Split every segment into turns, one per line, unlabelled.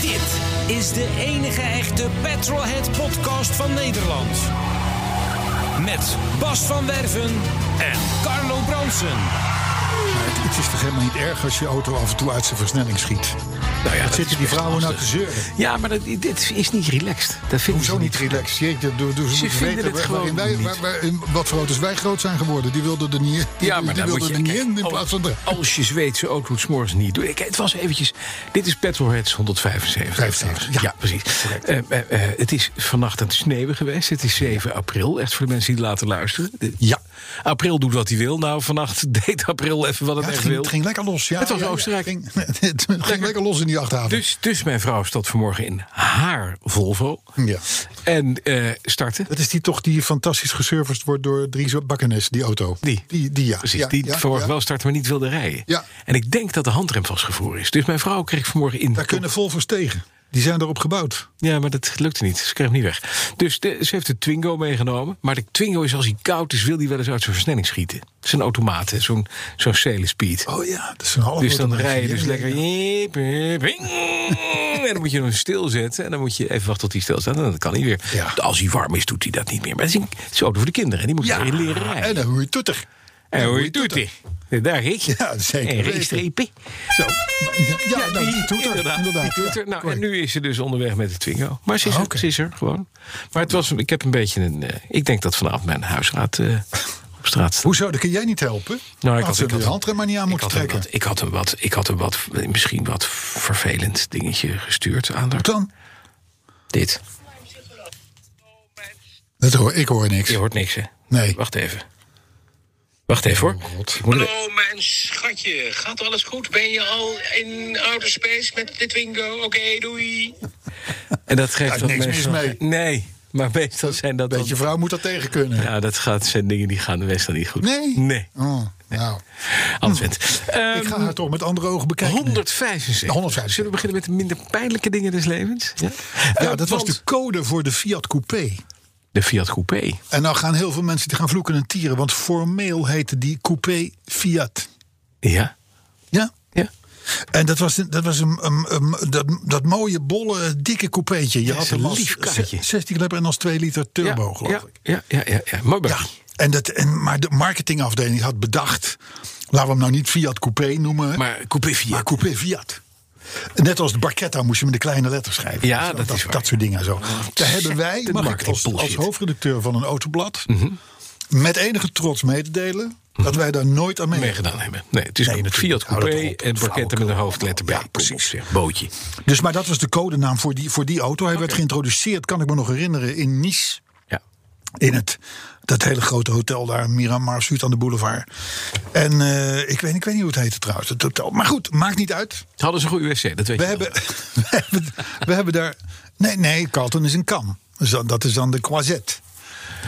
Dit is de enige echte Petrolhead podcast van Nederland. Met Bas van Werven en Carlo Bronsen.
Maar het, het is toch helemaal niet erg als je auto af en toe uit zijn versnelling schiet?
Nou ja,
Wat
dat
zitten
is
die
best
vrouwen nou te
lastig.
zeuren?
Ja, maar dat, dit is niet relaxed. Dat vinden
Hoezo
ze
niet relaxed? Jeetje, doe, doe, ze moeten
vinden het
weten waar-
gewoon
waarin wij,
niet.
waar- waarin- wat voor auto's wij groot zijn geworden. Die wilden er niet, die,
Ja, maar
die
dan moet
wilden
je,
er niet
kijk,
in in
als-
plaats van de
Als je Zweedse auto's s'morgens niet doet. Ik, het was eventjes. Dit is Petrolheads 175.
75,
ja, precies. Eh, eh, eh, het is vannacht aan het sneeuwen geweest. Het is 7 april. Echt voor de mensen die laten luisteren. De- ja, april doet wat hij wil. Nou, vannacht deed april even wat
Ja,
het
het,
echt
ging,
wil.
het ging lekker los. Ja,
Het was
ja, ja,
Oostenrijk.
het ging- het ging lekker los in die achthaven.
Dus, dus mijn vrouw stapt vanmorgen in haar Volvo.
Ja.
En eh startte.
dat is die toch die fantastisch geserviced wordt door Dries Bakkenes, die auto.
Die.
Die, die ja.
Precies,
ja,
die
ja,
vanmorgen
ja.
wel startte, maar niet wilde rijden.
Ja.
En ik denk dat de handrem vastgevroren is. Dus mijn vrouw kreeg vanmorgen in.
Daar kunnen Volvo's tegen. Die zijn erop gebouwd.
Ja, maar dat lukte niet. Ze kreeg hem niet weg. Dus de- ze heeft de Twingo meegenomen. Maar de Twingo is als hij koud is, wil hij wel eens uit zijn versnelling schieten. Het is een automaat, hè, zo'n zo'n Sale Speed.
Oh ja, dat is een half
Dus dan
automaatje.
rij je
Ja,
dus
ja,
lekker.
ja.
jiep, jiep, jiep. En dan moet je hem stilzetten. En dan moet je even wachten tot hij stilstaat. En dan kan hij weer.
Ja.
Als hij warm is, doet hij dat niet meer. Maar het is een, het is een auto voor de kinderen. En die moeten weer leren rijden.
En dan hoe je toeter.
En hoe je
doet
doet hij? Daar ik.
Ja, zeker
En
weten.
rechtstreepje.
Zo. Ja, ja, nou, die toeter.
Inderdaad, die toeter.
ja,
nou, en
correct.
nu is ze dus onderweg met de Twingo. Maar ze is,
Ah,
er,
oké.
ze is er gewoon. Maar het was, ik heb een beetje een... eh, ik denk dat vanavond mijn huisraad eh, op straat staat.
Hoezo, dat kun jij niet helpen?
Nou,
had ze de
hem-
handrem maar niet aan
ik
moeten
had hem
trekken.
wat- ik, had hem wat, ik had hem wat, misschien wat vervelend dingetje gestuurd aan haar.
Dan?
Dit.
Dat hoor, ik hoor niks.
Je hoort niks, hè?
Nee. Oh,
Wacht even. Wacht even, hoor.
God.
Ik moet er-
Hallo mijn schatje, gaat alles goed? Ben je al in outer space met de Twingo? Oké, doei.
En dat geeft
Daar is
wat
niks
meestal-
mis mee.
Nee, maar meestal zijn dat
Beetje
dan-
vrouw moet dat tegen kunnen.
Ja, dat gaat, zijn dingen die gaan de meestal niet goed.
Nee?
Nee,
Oh, nou,
anders wint.
ik
Ehm,
ga haar toch met andere ogen bekijken.
175.
175.
Zullen we beginnen met de minder pijnlijke dingen des levens? Ja, Eh,
Ja, dat was
want
de code voor de Fiat Coupé.
de Fiat Coupé.
En nou gaan heel veel mensen die gaan vloeken en tieren, want formeel heette die Coupé Fiat.
Ja,
Ja?
ja.
En dat was, een- dat, was een, een- een- dat, dat mooie, bolle, dikke coupeetje. Je
is
had
een
hem als
lief karretje.
16 liter en als 2 liter turbo,
ja,
geloof
ja,
ik.
Ja, ja, ja, ja. Mooi
Ja,
buggy.
en dat, en, maar de marketingafdeling had bedacht... laten we hem nou niet Fiat Coupé noemen, hè, maar,
Maar Coupé Fiat.
Coupé Fiat. Net als de Barchetta moest je met de kleine letters schrijven.
Ja,
Zo,
dat is waar. Ah,
dat soort dingen en zo. Daar hebben wij,
De
mag ik
marketing
als, als
bullshit. Mhm.
hoofdredacteur van een autoblad... met enige trots mee te delen dat wij daar nooit aan meegedaan
meegedaan hebben. Nee, het is
Nee,
een
natuurlijk.
Fiat
Hou dat
Coupé
op.
en pakketten met een hoofdletter B.
Ja, precies.
Kom op, zeg, Bootje.
Dus, maar dat was de codenaam voor die, voor die auto. Hij werd geïntroduceerd, kan ik me nog herinneren, in Nice.
Ja.
In het, dat hele grote hotel daar, Miramar Zuid aan de boulevard. En eh, ik, weet, ik weet niet hoe het heette trouwens, het hotel. Maar goed, maakt niet uit.
Ze hadden ze een goede UFC, dat weet
We
je.
hebben, we hebben, we hebben daar... Nee, nee, Carlton is een kam. Dus dan, dat is dan de Croisette.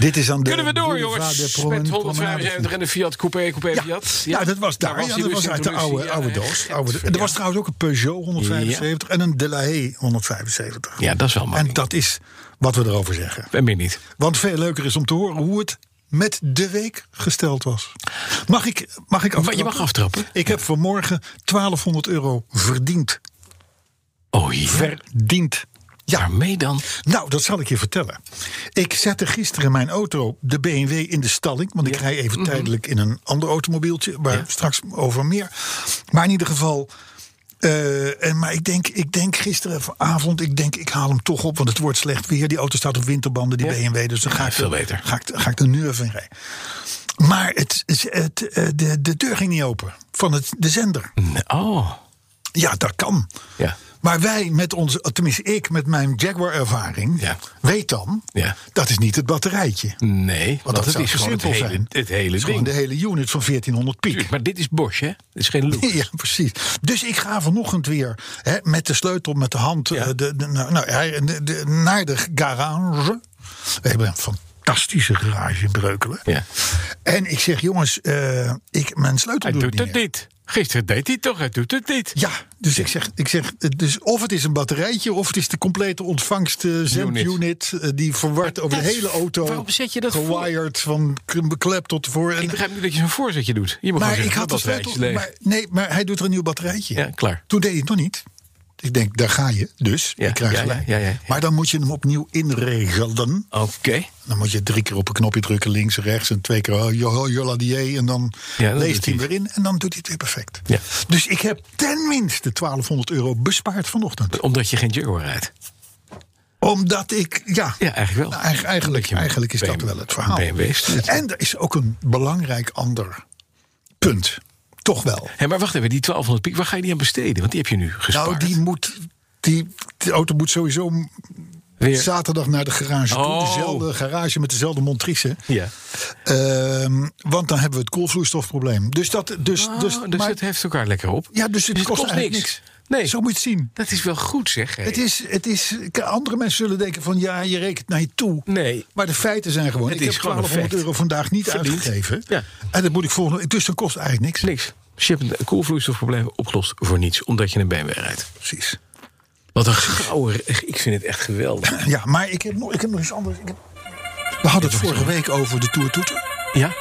Dit is dan de
Kunnen we door,
boulevard de
jongens?
Promen-
Met
Promenade.
175 en de Fiat Coupé, Coupé Fiat.
Ja, Nou, dat was daar.
was
ja,
hij
dat
dus
was uit de
introductie.
oude,
Ja,
oude
ja,
doos.
ja,
Oude,
ja.
er was trouwens ook een Peugeot 175 en een De La Haye 175.
Ja, dat is wel
En
makkelijk.
dat is wat we erover zeggen.
En meer niet.
Want veel leuker is om te horen hoe het met de week gesteld was. Mag ik, mag ik aftrappen?
je mag aftrappen.
Ik heb vanmorgen 1200 euro verdiend.
Oh, hier.
Verdiend. Ja,
Waarmee dan?
nou, dat zal ik je vertellen. Ik zette gisteren mijn auto, de BMW, in de stalling. Want ik rij
Mhm.
even tijdelijk in een ander automobieltje. Waar straks over meer. Maar in ieder geval. eh, en, maar ik denk, ik denk gisteravond, ik denk ik haal hem toch op. Want het wordt slecht weer. Die auto staat op winterbanden, die BMW. Dus dan ga ik,
veel beter.
Ga ik, ga ik er nu even in rijden. Maar het, het, het, eh, de, de deur ging niet open van het, de zender.
Oh.
Ja, dat kan.
Ja.
Maar wij met onze, tenminste ik met mijn Jaguar-ervaring,
Ja.
weet dan,
Ja.
dat is niet het batterijtje.
Nee, want
dat
dat,
zou
is
te
gewoon het
simpel
hele,
zijn.
het hele
Het is gewoon
ding.
de hele unit van 1400 piek.
Maar dit is Bosch, hè? Dit is geen loop.
Ja, precies. Dus ik ga vanochtend weer hè, met de sleutel, met de hand eh, de, de- nou, nou, hij- de- de- naar de garage. We hebben een fantastische garage in Breukelen.
Ja.
En ik zeg, jongens, eh, ik, mijn sleutel
Hij
doet,
doet
het
het
niet. meer.
niet. Gisteren deed hij het toch, hij doet het niet.
Ja, dus ik zeg, ik zeg eh, dus of het is een batterijtje... of het is de complete ontvangst eh, zendunit... eh, die verward over de
dat is-
hele auto...
waarom zet je dat voor?
gewired van k- beklep tot voor. En,
Ik begrijp niet dat je zo'n voorzetje doet. Je mag
maar
gewoon
ik
zeggen,
had de
dat batterijtje
sleutel...
is
Maar,
leeg.
nee, maar hij doet er een nieuw batterijtje.
Ja, klaar.
Toen deed hij het nog niet. Ik denk, daar ga je. Dus,
Ja,
ik krijg
ja, ja,
gelijk.
ja, ja, ja.
Maar dan moet je hem opnieuw inregelen.
Oké.
Dan moet je drie keer op een knopje drukken, links, rechts... en twee keer oh, joh, joladier, en dan
Ja, dat doet
leest hij hem
hij.
weer in... en dan doet hij het weer perfect.
Ja.
Dus ik heb tenminste 1200 euro bespaard vanochtend.
Omdat je geen Jaguar rijdt.
Omdat ik, ja...
Ja, eigenlijk wel.
nou, eigen- eigenlijk, eigenlijk is dat
BMW
wel het verhaal.
BMW stuurt.
En er is ook een belangrijk ander punt. Toch wel.
Hé, maar wacht even, die 1200 piek, waar ga je die aan besteden? Want die heb je nu gespaard.
Nou, die moet... Die, de auto moet sowieso
Weer.
zaterdag naar de garage toe.
Oh.
Dezelfde garage met dezelfde montrice.
Ja.
Ehm, want dan hebben we het koolvloeistofprobleem. Dus dat... Dus,
Oh,
dus,
dus
maar-
het heft elkaar lekker op.
ja, dus het
Dus
kost, eigenlijk niks.
Nee,
Zo moet je het zien.
dat is wel goed zeg. hé.
Het is, het is, k- andere mensen zullen denken van ja, je rekent naar je toe.
Nee.
Maar de feiten zijn gewoon,
Het
ik heb
is gewoon een
1200
feit.
euro vandaag niet
Verdiend.
uitgegeven.
Ja.
En dat moet ik volgende, dus dat kost eigenlijk niks.
Niks. Shippend koelvloeistofprobleem opgelost voor niets. Omdat je een BMW rijdt.
Precies.
Wat een gouden... Ik vind het echt geweldig.
Ja, maar ik heb nog, ik heb nog iets anders. Ik heb- We hadden het vorige week over de Tour Toeter.
Ja?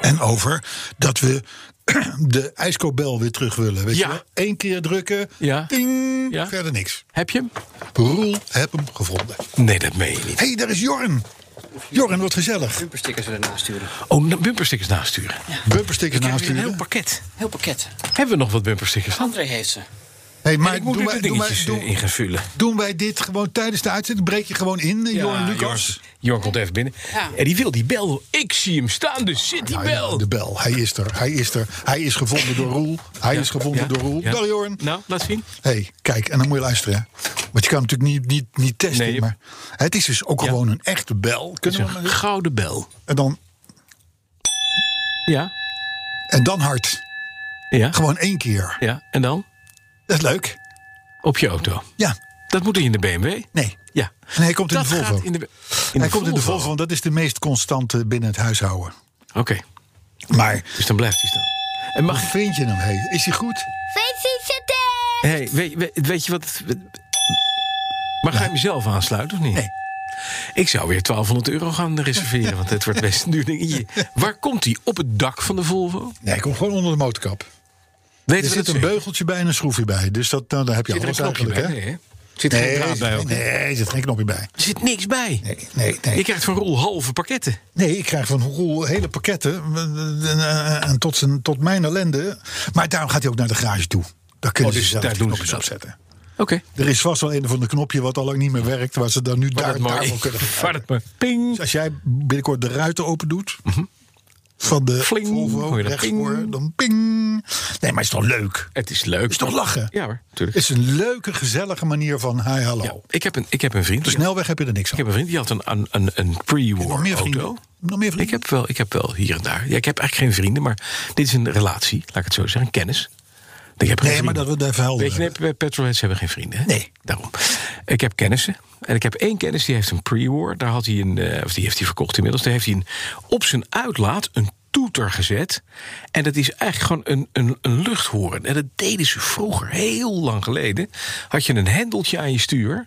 En over dat we de ijskoopbel weer terug willen. Weet
Ja.
je wel? Eén keer drukken,
Ja.
ding,
Ja.
verder niks.
Heb je hem?
Roel, heb hem gevonden.
Nee, dat meen je niet.
Hé, hey, daar is Jorn. Jorn, wat gezellig.
Bumperstickers ernaast sturen.
Oh, na- bumperstickers nasturen.
Bumperstickers
Krijg
naast
je een heel
u.
pakket.
Heel pakket.
Hebben we nog wat bumperstickers?
André heeft ze.
Hey,
Maar ik moet
doe
nu
maar-
de
doe maar-
dingetjes
doe-
eh, in gaan vullen.
Doen wij dit gewoon tijdens de uitzending? Breek je gewoon in, eh, Johan Lucas?
Jorn, Jorn komt even binnen.
Ja.
En die wil die bel. Ik zie hem staan, dus zit die
Nou ja,
bel.
de bel, hij is er. Hij is er. Hij is gevonden door Roel. Hij is gevonden
Ja,
door Roel.
ja.
Dag Jorn.
Nou, laat zien.
hey, kijk, en dan moet je luisteren. Hè? Want je kan hem natuurlijk niet, niet, niet testen.
Nee, je-
maar het is dus ook gewoon een echte bel.
Het is
Kunnen we
een
maar-
gouden bel.
en, dan,
Ja?
en dan hard.
Ja?
Gewoon één keer.
Ja? En dan?
Dat is leuk.
Op je auto.
Ja,
Dat moet hij in de BMW.
nee.
Ja.
En hij komt in
dat
de Volvo.
gaat in de, in
hij komt in de Volvo, want dat is de meest constante binnen het huishouden.
Oké,
Maar,
dus dan blijft hij staan. En mag
hoe
ik...
vind je hem? Hey, is hij goed?
Hey, weet, weet, weet je wat... het- Maar ga je hem zelf aansluiten of niet?
Nee.
Ik zou weer 1200 euro gaan reserveren, want het wordt best een duur dingetje. Waar komt hij? Op het dak van de Volvo?
Nee, hij komt gewoon onder de motorkap.
Weet
Er zit een beugeltje bij en een schroefje bij. Dus dat, nou, daar heb je
Zit er een
alles
knopje bij?
eigenlijk, hè?
Nee, hè? Zit er geen draad bij? ook?
Nee, er zit geen knopje bij.
Er zit niks bij.
Nee, nee, nee.
Je
Ik,
krijgt van Roel halve pakketten.
nee, ik krijg van Roel hele pakketten. eh, En tot, zijn, tot mijn ellende. Maar daarom gaat hij ook naar de garage toe. Daar kunnen
Oh,
ze
dus
zelf
daar
de
doen
knopjes
ze
op
dat.
zetten.
Oké.
Er is vast wel een van de knopje wat al lang niet meer werkt. Waar ze dan nu daar, daarvoor kunnen
Vaart
gebruiken.
het maar. Ping.
Dus als jij binnenkort de ruiten open doet... Van de
Mhm. Fling.
Volvo
Hoor je dat?
rechtsvoor, dan ping. Nee, maar is toch leuk?
Het is leuk.
Is toch lachen?
Ja hoor, tuurlijk.
Is een leuke, gezellige manier van hi, hallo.
Ja, ik, heb een, ik heb een vriend.
De snelweg heb je er
Ik
niks aan.
heb een vriend die had een, een, een, een pre-war
Nog meer vrienden?
auto.
Nog meer vrienden?
Ik heb, wel, ik heb wel hier en daar. Ja, ik heb eigenlijk geen vrienden, maar dit is een relatie, laat ik het zo zeggen, een kennis. Ik heb geen
Nee,
vrienden.
maar dat we het even helder
Weet je, nee, bij petrolheads hebben geen vrienden. Hè?
Nee.
Daarom. Ik heb kennissen. En ik heb één kennis, die heeft een pre-war. Daar had hij een, eh, of die heeft hij verkocht inmiddels. Daar heeft hij een, op zijn uitlaat een toeter gezet. En dat is eigenlijk gewoon een, een, een luchthoorn. En dat deden ze vroeger, heel lang geleden. Had je een hendeltje aan je stuur.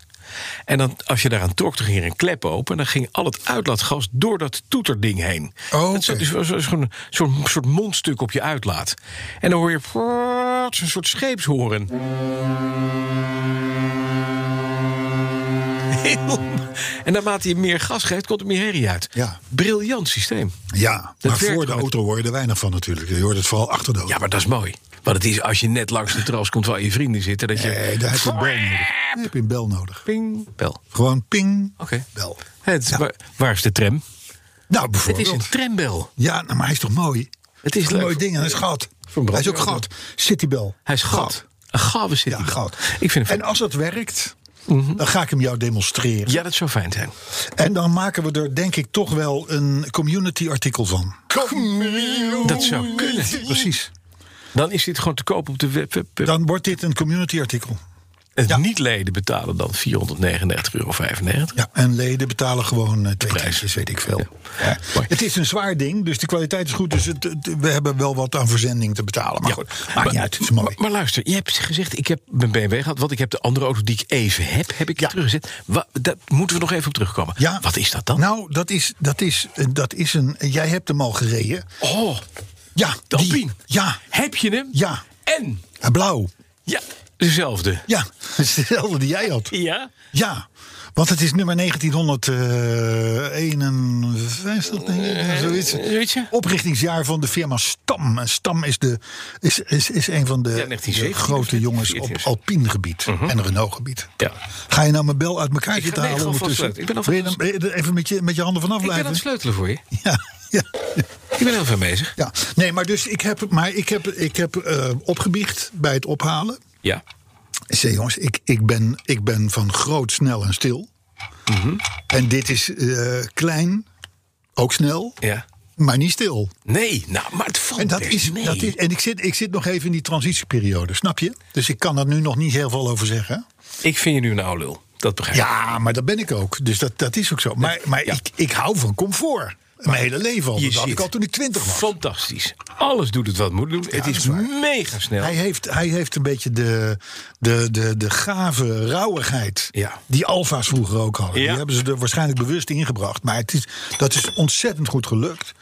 En dan, als je daaraan trok, dan ging er een klep open. En dan ging al het uitlaatgas door dat toeterding heen.
Oh,
Dat is-
oké.
dus was was gewoon een soort, soort mondstuk op je uitlaat. En dan hoor je een soort scheepshoren. Heel- En naarmate je meer gas geeft, komt er meer herrie uit.
Ja.
Briljant systeem.
Ja,
Dat
maar
werkt
voor de
gewoon.
auto hoor je er weinig van natuurlijk. Je hoort het vooral achter de auto.
Ja, maar dat is mooi. Want het is als je net langs de terras komt waar je vrienden zitten... dat Eh, je...
Nee, Eh, daar heb je een bel nodig. Daar heb je een bel nodig.
Ping, bel.
Gewoon ping,
Oké.
bel.
Het, is- waar, waar is de tram?
Nou,
Het is
bijvoorbeeld.
een trambel.
Ja, nou, maar hij is toch mooi?
Het is
een
leuk.
mooi ding en hij is gat. Hij is ook gat. Citybel.
Hij is gat. Een gave zit
Ja,
die dan.
goud.
Ik vind het Mhm.
en als het werkt, dan ga ik hem jou demonstreren.
Ja, dat zou fijn zijn.
En dan maken we er denk ik toch wel een community artikel van.
Dat zou kunnen.
Precies.
Dan is dit gewoon te koop op de web. web- web.
Dan wordt dit een community artikel.
Het niet-leden betalen dan 499,95 euro.
Ja, en leden betalen gewoon eh, twee
prijs.
tientjes, weet ik veel.
Ja.
Ja.
Mooi.
Het is een zwaar ding, dus de kwaliteit is goed. Dus het, het- we hebben wel wat aan verzending te betalen. Maar
Ja.
goed, maakt niet uit, het is mooi.
Maar, maar luister, je hebt gezegd, ik heb mijn BMW gehad... want ik heb de andere auto die ik even heb, heb ik
Ja.
teruggezet. Wa- daar moeten we nog even op terugkomen.
Ja.
Wat is dat dan?
Nou, dat is, dat, is, eh, dat is een... Jij hebt hem al gereden.
oh,
Ja,
de
die.
Alpine.
Ja,
Heb je hem?
Ja.
En?
blauw.
Ja, dezelfde.
Ja, dat is dezelfde die jij had.
Ja?
Ja, want het is nummer 1951, denk ik, of zoiets.
zoiets, ja.
Oprichtingsjaar van de firma Stam. En Stam is, de, is, is, is een van de,
1917
de grote
of
jongens
1914
op
is.
Alpine gebied en Renault gebied.
Mhm. Ja.
Ga je nou mijn bel uit elkaar
Ik
zitten
ga- nee,
halen
ik ga alvast
ondertussen?
sluiten. Ik ben
Wil je
alvast-
dan- eh, even met je, met je handen vanaf
Ik ben aan
blijven?
het sleutelen voor je.
ja, ja,
Ik ben heel veel bezig.
ja. Nee, maar dus ik heb, maar ik heb, ik heb eh, opgebiecht bij het ophalen.
Ja.
Ik zei, jongens, ik, ik, ben, ik ben van groot, snel en stil.
Mhm.
En dit is eh, klein, ook snel,
Ja.
maar niet stil.
Nee, nou, maar het valt
En, dat
best
is,
mee.
dat is, en ik, zit, ik zit nog even in die transitieperiode, snap je? Dus ik kan daar nu nog niet heel veel over zeggen.
Ik vind je nu een oude lul. Dat begrijp ik.
Ja, maar dat ben ik ook. Dus dat, dat is ook zo. Maar, maar
Ja.
ik, ik hou van comfort. Mijn hele leven al.
Je
Dat had
ziet.
ik al toen ik twintig was.
Fantastisch. Alles doet het wat het moet doen. het
dat
is
is waar.
mega snel.
Hij heeft, hij heeft een beetje de, de, de, de gave rauwigheid
Ja.
die alfa's vroeger ook hadden.
Ja.
Die hebben ze er waarschijnlijk bewust ingebracht. Maar het is, dat is ontzettend goed gelukt.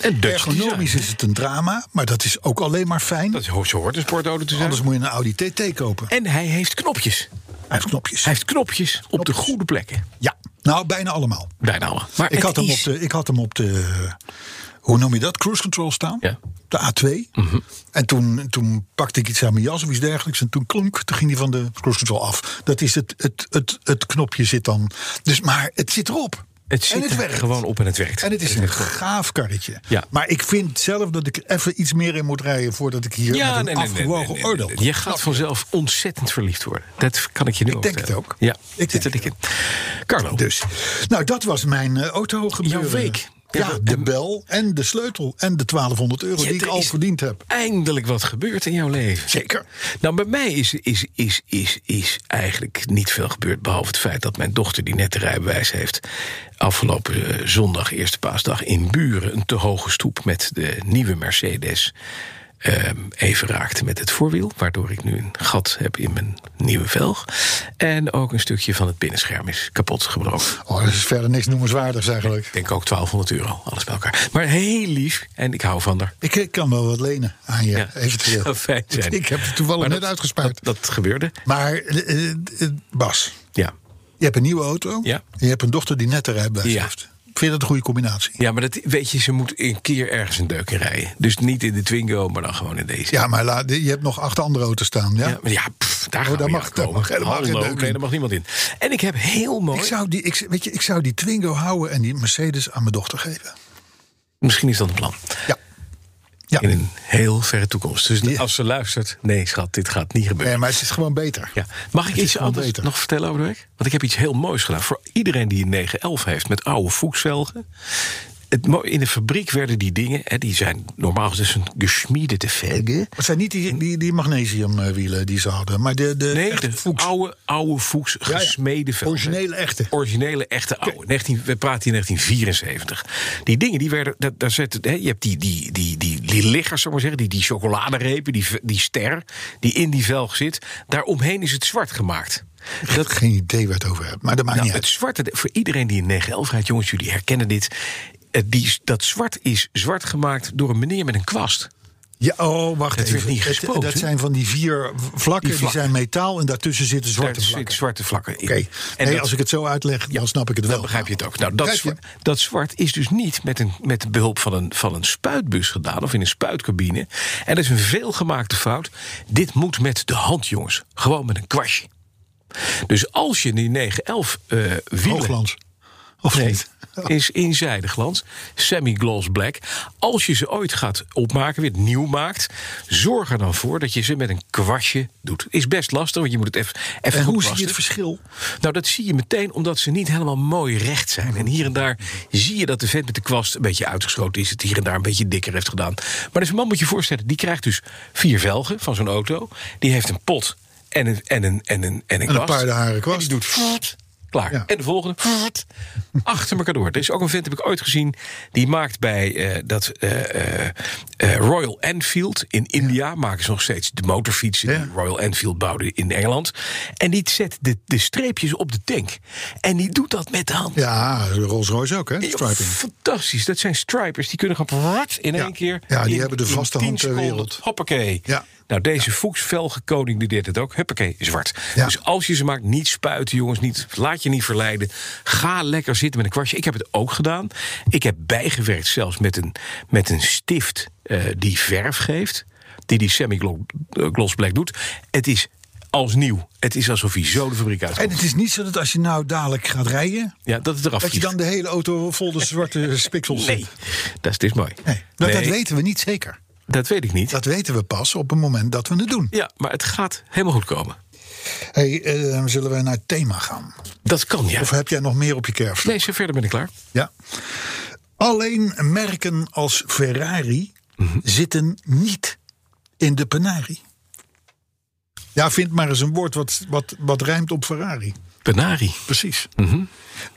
En Dutch
Ergonomisch
design.
is het een drama, maar dat is ook alleen maar fijn.
Dat is, zo hoort een sportauto te zijn.
Anders moet je een Audi TT kopen.
En hij heeft knopjes. Hij
Hij heeft knopjes.
heeft knopjes, op de goede plekken.
Ja, nou bijna allemaal.
Bijna allemaal. Maar
Ik
het
had, hem op
is-
de, ik had hem op de, hoe noem je dat, cruise control staan.
Ja. Mhm.
De A2. En toen, toen pakte ik iets aan mijn jas of iets dergelijks. En toen klonk, toen ging die van de cruise control af. Dat is het, het, het, het knopje zit dan. Dus, maar het zit erop.
Het
en
zit
het
er
werkt.
gewoon op en het werkt.
En het is een gaaf karretje.
Ja.
Maar ik vind zelf dat ik even iets meer in moet rijden... voordat ik hier met een afgewogen oordeel...
Je gaat vanzelf ontzettend verliefd worden. Dat kan ik je nu
Ik denk het
vertellen.
ook.
Ja,
Ik
ik zit er
denk
dik in. Carlo,
Dus, nou, dat was mijn eh, auto gebeuren.
Jouw week.
Ja,
Ja,
de
en-
bel en de sleutel en de 1200 euro
Ja,
die ik
er
al
is-
verdiend heb.
eindelijk wat gebeurt in jouw leven.
Zeker.
Nou, bij mij is, is, is, is, is eigenlijk niet veel gebeurd. Behalve het feit dat mijn dochter, die net de rijbewijs heeft. afgelopen eh, zondag, eerste paasdag, in Buren. een te hoge stoep met de nieuwe Mercedes. ehm, even raakte met het voorwiel. Waardoor ik nu een gat heb in mijn nieuwe velg. En ook een stukje van het binnenscherm is kapot gebroken.
Oh, dat is verder niks noemenswaardigs eigenlijk.
Ik denk ook 1200 euro, alles bij elkaar. Maar heel lief en ik hou van haar.
Ik eh, kan wel wat lenen aan je, eventueel.
zou fijn zijn.
Ik heb het toevallig
Maar
net
dat-
uitgespaard.
Dat, dat gebeurde,
Maar eh, eh, eh, Bas,
ja.
je hebt een nieuwe auto.
Ja.
En je hebt een dochter die net de rijbewijs
Ja.
heeft. Vind je dat een goede combinatie?
Ja, maar dat, weet je, ze moet een keer ergens een deuk in rijden. Dus niet in de Twingo, maar dan gewoon in deze.
Ja, maar la- je hebt nog acht andere auto's staan. Ja?
ja, maar ja pff, daar gaan
Oh, daar
we
mag-
niet aan
daar
komen.
mag helemaal geen
Hallo,
deuk in.
nee, daar mag niemand in. En ik heb heel mooi...
Ik, zou die, ik, weet je, ik zou die Twingo houden en die Mercedes aan mijn dochter geven.
Misschien is dat een plan.
Ja. ja.
In een heel verre toekomst. Dus
Ja.
als ze luistert... Nee, schat, dit gaat niet gebeuren.
Nee, maar het is gewoon beter.
Ja. Mag ik
is
iets
gewoon
anders
beter.
nog vertellen over de week? Want ik heb iets heel moois gedaan. Voor iedereen die een 911 heeft met oude voekselgen. Het mooie- in de fabriek werden die dingen, hè, die zijn normaal gezien geschmiedete velgen.
Het zijn niet die, die, die magnesiumwielen die ze hadden, maar de, de,
Nee,
echte
de
Fuchs.
oude, oude Fuchs
ja.
gesmeden velgen.
Originele echte.
Originele echte oude. 19, we praten in 1974. Die dingen, die werden, dat, daar zetten, hè, je hebt die, die, die, die, die liggers, zou ik maar zeggen, die, die chocoladerepen, die, v- die ster, die in die velg zit. Daaromheen is het zwart gemaakt. Dat,
Geen idee waar het over hebt, maar dat maakt
Nou,
niet
het
uit.
zwarte, voor iedereen die in 911 rijdt, jongens, jullie herkennen dit. Eh, Die, dat zwart is zwart gemaakt door een meneer met een kwast.
Ja, oh, wacht
Het werd
even.
niet gespookt,
dat
hè?
zijn van die vier v- vlakken,
Die
die,
vlakken.
zijn metaal en daartussen zitten zwarte
Daar
vlakken.
zit zwarte vlakken in.
Oké,
En
nee,
dat-
als ik het zo uitleg, dan snap ik het wel.
Dan begrijp je het ook. Nou, dat,
Kijk,
zwart, dat zwart is dus niet met, een, met behulp van een, van een spuitbus gedaan of in een spuitcabine. En dat is een veelgemaakte fout. Dit moet met de hand, jongens. Gewoon met een kwastje. Dus als je die 911 eh wielen...
Hooglands. Of
Nee,
niet?
is eenzijdig glans. Semi-gloss black. Als je ze ooit gaat opmaken, weer nieuw maakt... zorg er dan voor dat je ze met een kwastje doet. Is best lastig, want je moet het even, even
En
goed
hoe zie je
kwasten.
het verschil?
Nou, dat zie je meteen omdat ze niet helemaal mooi recht zijn. En hier en daar zie je dat de vent met de kwast een beetje uitgeschoten is. Het hier en daar een beetje dikker heeft gedaan. Maar deze man moet je voorstellen, die krijgt dus vier velgen van zo'n auto. Die heeft een pot en een, en een, en een, en een
En een
kwast.
paardenharen
En
kwast.
die doet voet, klaar.
Ja.
En de volgende voet, achter elkaar door. Er is ook een vent, heb ik ooit gezien, die maakt bij eh, dat eh, eh, eh, Royal Enfield in India... maken ze nog steeds de motorfietsen
Ja.
die Royal Enfield bouwde in Engeland. En die zet de, de streepjes op de tank. En die doet dat met de hand.
Ja, Rolls Royce ook, hè?
Joh,
Striping.
Fantastisch, dat zijn stripers. Die kunnen gewoon wat in
Ja.
één keer.
Ja, die
in-
hebben de
in
vaste
10
hand ter
seconden.
wereld.
Hoppakee.
Ja.
Nou, deze Fuchsvelgenkoning die deed het ook. Huppakee, zwart.
Ja.
Dus als je ze maakt, niet spuiten, jongens. Niet, laat je niet verleiden. Ga lekker zitten met een kwastje. Ik heb het ook gedaan. Ik heb bijgewerkt zelfs met een, met een stift eh, die verf geeft. Die die semi-gloss black doet. Het is als nieuw. Het is alsof hij zo de fabriek
En
uitkomt.
het is niet zo dat als je nou dadelijk gaat rijden,
Ja, dat het eraf
dat je
vliegt.
dan de hele auto vol de zwarte spiksels
Nee,
zit.
dat is, dit is mooi.
Nee, dat, dat
Nee,
weten we niet zeker.
dat weet ik niet.
Dat weten we pas op het moment dat we het doen.
Ja, maar het gaat helemaal goed komen.
Hey, eh, zullen wij naar het thema gaan?
Dat kan, ja.
Of heb jij nog meer op je kerf?
Nee, zo verder ben ik klaar.
Ja. Alleen merken als Ferrari zitten niet in de penarie. Ja, vind maar eens een woord wat, wat, wat rijmt op Ferrari.
Benari.
Precies.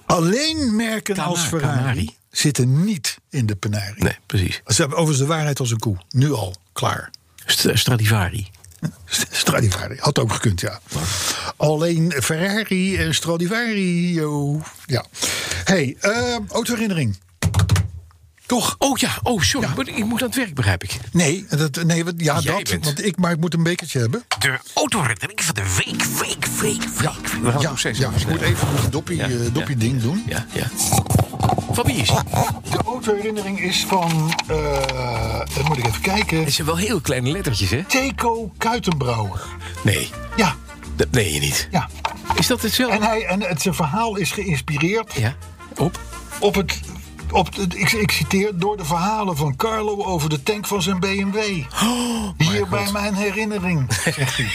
Alleen merken als
Cana-
Ferrari
Canari.
zitten niet in de penarie.
Nee, precies.
Ze hebben overigens de waarheid als een koe. Nu al, klaar.
St- Stradivari.
Stradivari. Had ook gekund, ja. Alleen Ferrari en Stradivari. yo. Ja. hey, eh, autoherinnering. Toch?
Oh ja, oh sorry. maar Ik moet aan het werk, begrijp ik.
Nee, dat, nee wat- ja,
Jij
dat.
bent-
Want ik, maar ik moet een bekertje hebben.
De autoherinnering van de week, week, week, week. We gaan
ja,
nog steeds
ja,
even
ik moet
snel.
even een doppie,
Ja,
eh,
ja.
doppieding doen.
Ja, ja. Van wie is die?
De autoherinnering is van. eh dat moet ik even kijken.
Het zijn wel heel kleine lettertjes, hè?
Teco Kuitenbrouwer.
Nee,
Ja,
dat meen je niet.
ja.
Is dat
En,
hetzelfde?
hij, en het, zijn verhaal is geïnspireerd
Ja, op.
op het. Op het ik, ik citeer door de verhalen van Carlo over de tank van zijn
Oh,
BMW. Hier bij mijn herinnering, zegt hij.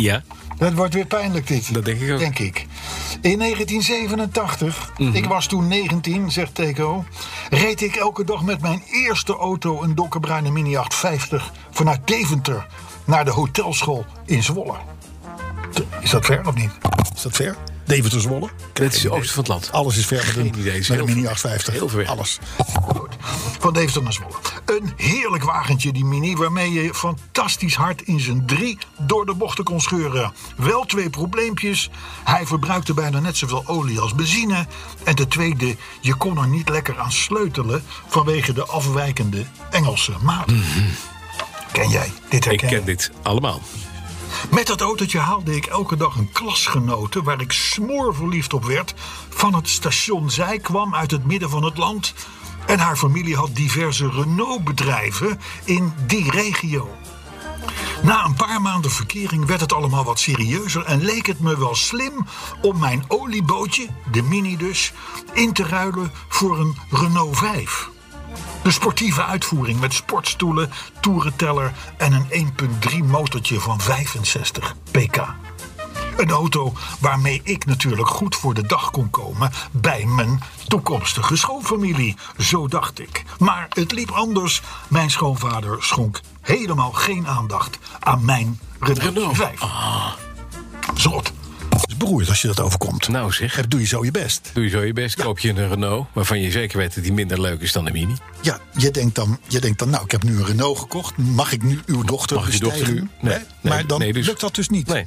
Ja.
Dat wordt weer pijnlijk, dit.
Dat denk ik ook. Mhm.
Denk ik. In 1987, ik was toen 19, zegt Teco... reed ik elke dag met mijn eerste auto een donkerbruine Mini 850... vanuit Deventer naar de hotelschool in Zwolle. Te- Is dat ver of niet? Is dat ver? Deventer-Zwolle?
Dat is de oosten van het land.
Alles is ver met
Geen idee,
een,
is
met
heel
een Mini
ver.
850.
Heel ver weg.
Alles. Goed. Van Deventer naar Zwolle. Een heerlijk wagentje, die Mini, waarmee je fantastisch hard in zijn drie door de bochten kon scheuren. Wel twee probleempjes. Hij verbruikte bijna net zoveel olie als benzine. En de tweede, je kon er niet lekker aan sleutelen vanwege de afwijkende Engelse maat. Ken jij? Dit
Mhm. Ik
herken je?
ken dit allemaal.
Met dat autootje haalde ik elke dag een klasgenote waar ik smoorverliefd op werd. Van het station. Zij kwam uit het midden van het land. En haar familie had diverse Renault-bedrijven in die regio. Na een paar maanden verkering werd het allemaal wat serieuzer en leek het me wel slim om mijn oliebootje, de Mini dus, in te ruilen voor een Renault 5. De sportieve uitvoering met sportstoelen, toerenteller en een 1.3 motortje van 65 pk. Een auto waarmee ik natuurlijk goed voor de dag kon komen bij mijn toekomstige schoonfamilie, zo dacht ik. Maar het liep anders. Mijn schoonvader schonk helemaal geen aandacht aan mijn Renault
Renault.
5. Zot. Het is beroerd als je dat overkomt.
Nou zeg,
Doe je zo je best.
doe je zo je best. Koop je een Renault, waarvan je zeker weet dat die minder leuk is dan de Mini.
Ja, je denkt, dan, je denkt dan, nou, ik heb nu een Renault gekocht. Mag ik nu uw dochter
Mag ik je dochter
bestijgen?
nu? Nee,
Hè?
nee,
maar dan
nee, dus-
lukt dat dus niet.
Nee.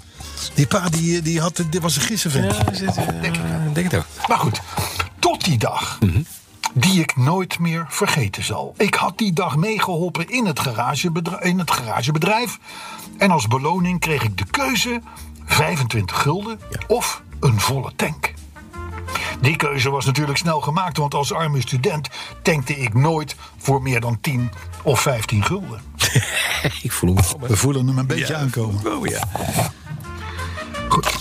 Die pa, die, die, had, die was een gissenvent. eh,
denk, Eh, denk het ook.
Maar goed, tot die dag. Die ik nooit meer vergeten zal. Ik had die dag meegeholpen in het, garagebedrijf, in het garagebedrijf. En als beloning kreeg ik de keuze: 25 gulden of een volle tank. Die keuze was natuurlijk snel gemaakt, want als arme student tankte ik nooit voor meer dan 10 of 15 gulden.
Ik voel hem Oh, wel.
voelen hem een beetje aankomen.
Oh ja.
Goed.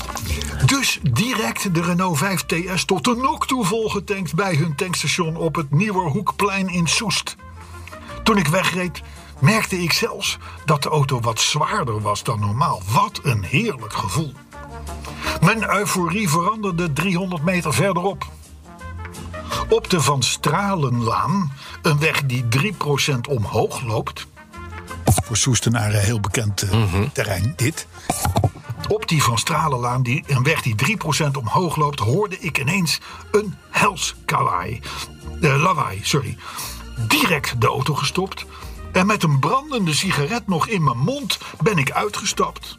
Dus dus direct de Renault 5 TS tot de nok toe volgetankt bij hun tankstation op het Nieuwe Hoekplein in Soest. Toen ik wegreed, merkte ik zelfs dat de auto wat zwaarder was dan normaal. Wat een heerlijk gevoel. Mijn euforie veranderde 300 meter verderop. Op de Van Stralenlaan, een weg die 3% omhoog loopt. Voor Soestenaren heel bekend eh, terrein, dit. Op die Van Stralenlaan, die, een weg die 3% omhoog loopt, hoorde ik ineens een hels kawaai. Eh, lawaai, sorry. Direct de auto gestopt. En met een brandende sigaret nog in mijn mond ben ik uitgestapt.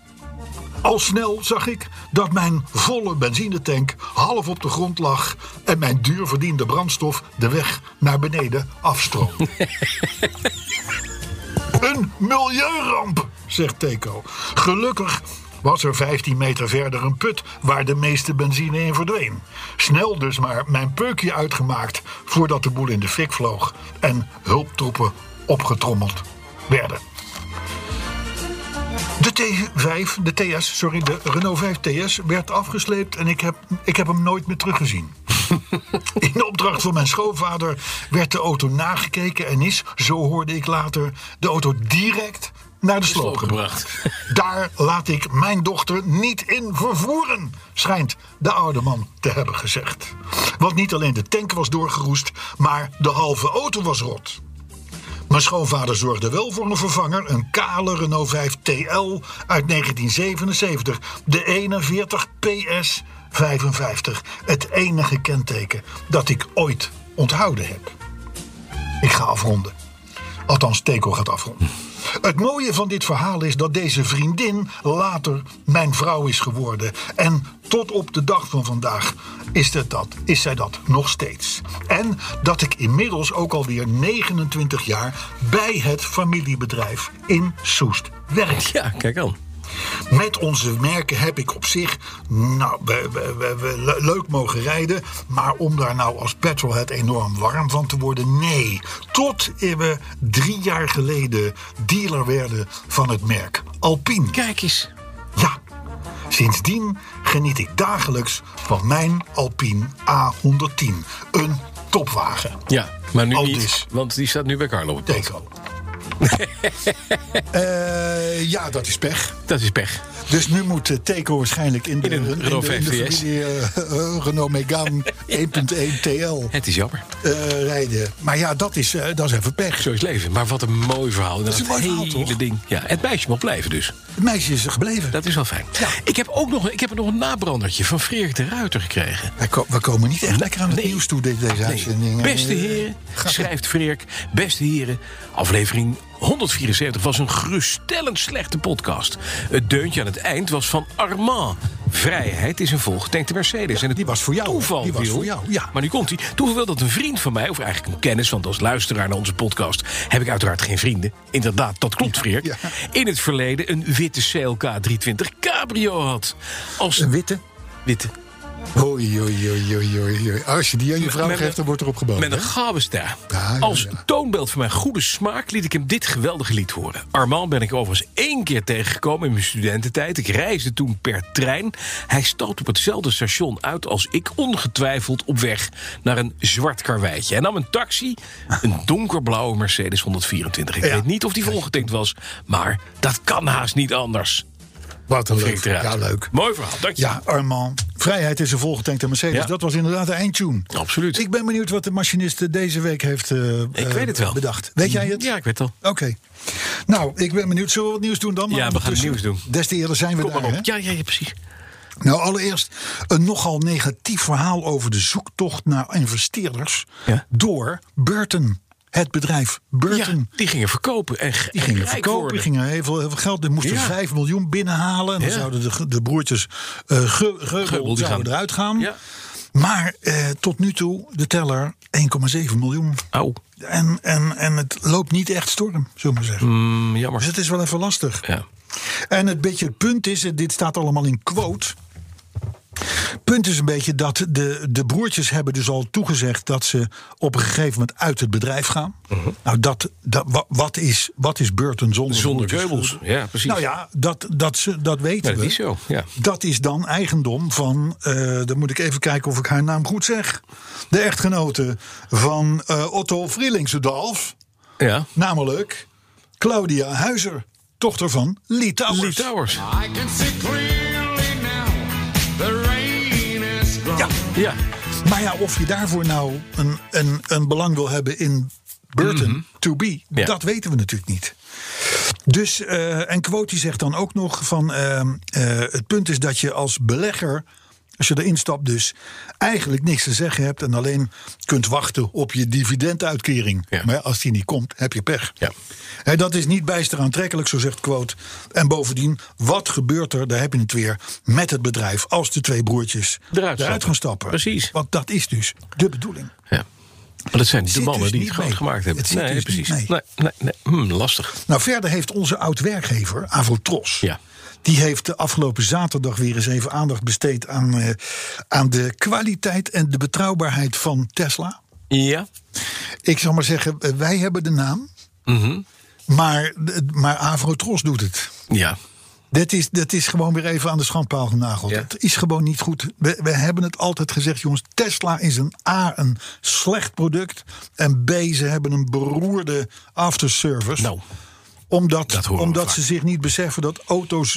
Al snel zag ik dat mijn volle benzinetank half op de grond lag en mijn duurverdiende brandstof de weg naar beneden afstroomde. een milieuramp, zegt Teco. Gelukkig was er 15 meter verder een put waar de meeste benzine in verdween. Snel dus maar mijn peukje uitgemaakt voordat de boel in de fik vloog en hulptroepen opgetrommeld werden. De T5, de TS, sorry, de Renault 5 TS werd afgesleept en ik heb, ik heb hem nooit meer teruggezien. In de opdracht van mijn schoonvader werd de auto nagekeken en is, zo hoorde ik later, de auto direct naar de sloop gebracht. Daar laat ik mijn dochter niet in vervoeren, schijnt de oude man te hebben gezegd. Want niet alleen de tank was doorgeroest, maar de halve auto was rot. Mijn schoonvader zorgde wel voor een vervanger, een kale Renault 5 TL uit 1977, de 41 PS 55. Het enige kenteken dat ik ooit onthouden heb. Ik ga afronden. Althans, Teco gaat afronden. Het mooie van dit verhaal is dat deze vriendin later mijn vrouw is geworden. En tot op de dag van vandaag is, het dat, is zij dat nog steeds. En dat ik inmiddels ook alweer 29 jaar bij het familiebedrijf in Soest werk.
Ja, kijk aan.
Met onze merken heb ik op zich nou, we, we- we- we le- leuk mogen rijden. Maar om daar nou als petrolhead enorm warm van te worden, nee. Tot we drie jaar geleden dealer werden van het merk Alpine.
Kijk eens.
Ja, sindsdien geniet ik dagelijks van mijn Alpine A110. Een topwagen.
Ja, maar nu
Al
niet,
dus.
want die staat nu bij Carlo. op het pad.
Deco. Eh, ja, dat is pech.
Dat is pech.
Dus nu moet eh, Teco waarschijnlijk in de,
In een
in de-
Renault
in de
5DS.
familie eh, eh, Renault Megane 1.1 TL
Het is jammer.
eh, rijden. Maar ja, dat is, eh, dat is even pech.
Zo is leven. Maar wat een mooi verhaal.
is een
Inderdaad,
mooi
hele
verhaal, toch?
ding. Ja, het meisje mag blijven dus.
Het meisje is er gebleven.
Dat is wel fijn. Ik heb ook nog, ik heb nog een nabrandertje van Frederik de Ruiter gekregen.
Wij ko- we komen niet echt lekker aan het
Nee.
nieuws toe, dit- deze
Nee.
uitzending.
Beste
Eh,
heren,
gaat-
schrijft Freerk. Beste heren, aflevering 174 was een geruststellend slechte podcast. Het deuntje aan het eind was van Armand. Vrijheid is een volgetankt Mercedes. en het
die was voor jou.
Toeval
Die was
wil-
voor jou, ja.
Maar nu komt hij. Toeval wil dat een vriend van mij, of eigenlijk een kennis... want als luisteraar naar onze podcast heb ik uiteraard geen vrienden. Inderdaad, dat klopt, Freerk.
ja.
In het verleden een witte CLK 320 Cabrio had. Als
Een witte.
witte
Oei, oei, oei, oei, oei, oei. Als je die aan je vrouw
Met-
geeft, dan wordt erop gebouwd.
Met een gabester.
Ja, ja,
Als
ja.
toonbeeld van mijn goede smaak liet ik hem dit geweldige lied horen. Armand ben ik overigens één keer tegengekomen in mijn studententijd. Ik reisde toen per trein. Hij stond op hetzelfde station uit als ik, ongetwijfeld op weg naar een zwart karweitje. Hij nam een taxi, een donkerblauwe Mercedes 124. Ik
Ja.
weet niet of die volgetankt was, maar dat kan haast niet anders.
Wat een leuk.
Freek eruit.
Ja, leuk.
Mooi verhaal, dank je.
Ja, Armand. Vrijheid is een volgetankte Mercedes.
Ja.
Dat was inderdaad de eindtune.
Absoluut.
Ik ben benieuwd wat de machinist eh, deze week heeft eh, eh,
weet het wel.
bedacht. Weet jij het?
Ja, ik weet het al.
Oké. Nou, ik ben benieuwd. Zullen we wat nieuws doen dan?
Ja, we gaan
ondertussen-
nieuws doen.
Des te eerder zijn we
Kom maar
daar. hè?
op. Ja, ja, ja, precies.
Nou, allereerst een nogal negatief verhaal over de zoektocht naar investeerders
Ja.
door Burton. Het bedrijf Burton.
Ja, die gingen verkopen en
Die gingen verkopen, die gingen heel veel, heel veel geld. Die moesten
Ja.
5 miljoen binnenhalen. En dan
Ja.
zouden de, de broertjes eh Ge- Geubel
Geubel, die
zouden
gaan-
eruit gaan.
Ja.
Maar eh, tot nu toe, de teller, 1,7 miljoen.
Au,
En, en, en het loopt niet echt storm, zullen we maar zeggen.
mm,
Dus
jammer.
het is wel even lastig.
Ja.
En het beetje het punt is, en dit staat allemaal in quote. Punt is een beetje dat de, de broertjes hebben dus al toegezegd dat ze op een gegeven moment uit het bedrijf gaan.
Mhm.
Nou, dat, dat, wa- wat, is, wat is Burton zonder,
Zonder
broertjes?
Goebbels, ja, precies.
Nou ja, dat, dat, ze, dat weten
Ja, dat
we.
is zo, ja.
Dat is dan eigendom van, eh, dan moet ik even kijken of ik haar naam goed zeg. De echtgenote van eh, Otto Vrillingsedalf,
Ja.
namelijk Claudia Huizer, dochter van Lee Towers.
Lee Towers.
I can see clearly now. The rain is gone.
Ja.
Ja.
Maar ja, of je daarvoor nou een, een, een belang wil hebben in Burton to be,
Mhm. Ja.
dat weten we natuurlijk niet. Dus, eh, en Quote die zegt dan ook nog van, ehm, eh, het punt is dat je als belegger, als je erin stapt dus, eigenlijk niks te zeggen hebt en alleen kunt wachten op je dividenduitkering.
Ja.
Maar ja, als die niet komt, heb je pech.
Ja.
Hè, dat is niet bijster aantrekkelijk, zo zegt Quote. En bovendien, wat gebeurt er, daar heb je het weer, met het bedrijf als de twee broertjes
Eruit stappen.
gaan stappen?
Precies.
Want dat is dus de bedoeling.
ja. Maar dat zijn de
zit
mannen
dus
die
niet
het groot
mee.
gemaakt hebben.
Het zit
nee,
dus
precies.
niet mee.
Nee, nee, nee. Hm, lastig.
Nou, verder heeft onze oud-werkgever, Avotros...
Ja.
die heeft de afgelopen zaterdag weer eens even aandacht besteed... aan, eh, aan de kwaliteit en de betrouwbaarheid van Tesla.
Ja.
Ik zal maar zeggen, eh, wij hebben de naam...
Mhm.
maar, eh, maar Avotros doet het.
Ja.
Dat is, dat is gewoon weer even aan de schandpaal genageld.
Ja.
Het is gewoon niet goed. We, we hebben het altijd gezegd, jongens. Tesla is een A, een slecht product. En B, ze hebben een beroerde afterservice.
Nou. dat
omdat
horen we
omdat
vaak.
ze zich niet beseffen dat auto's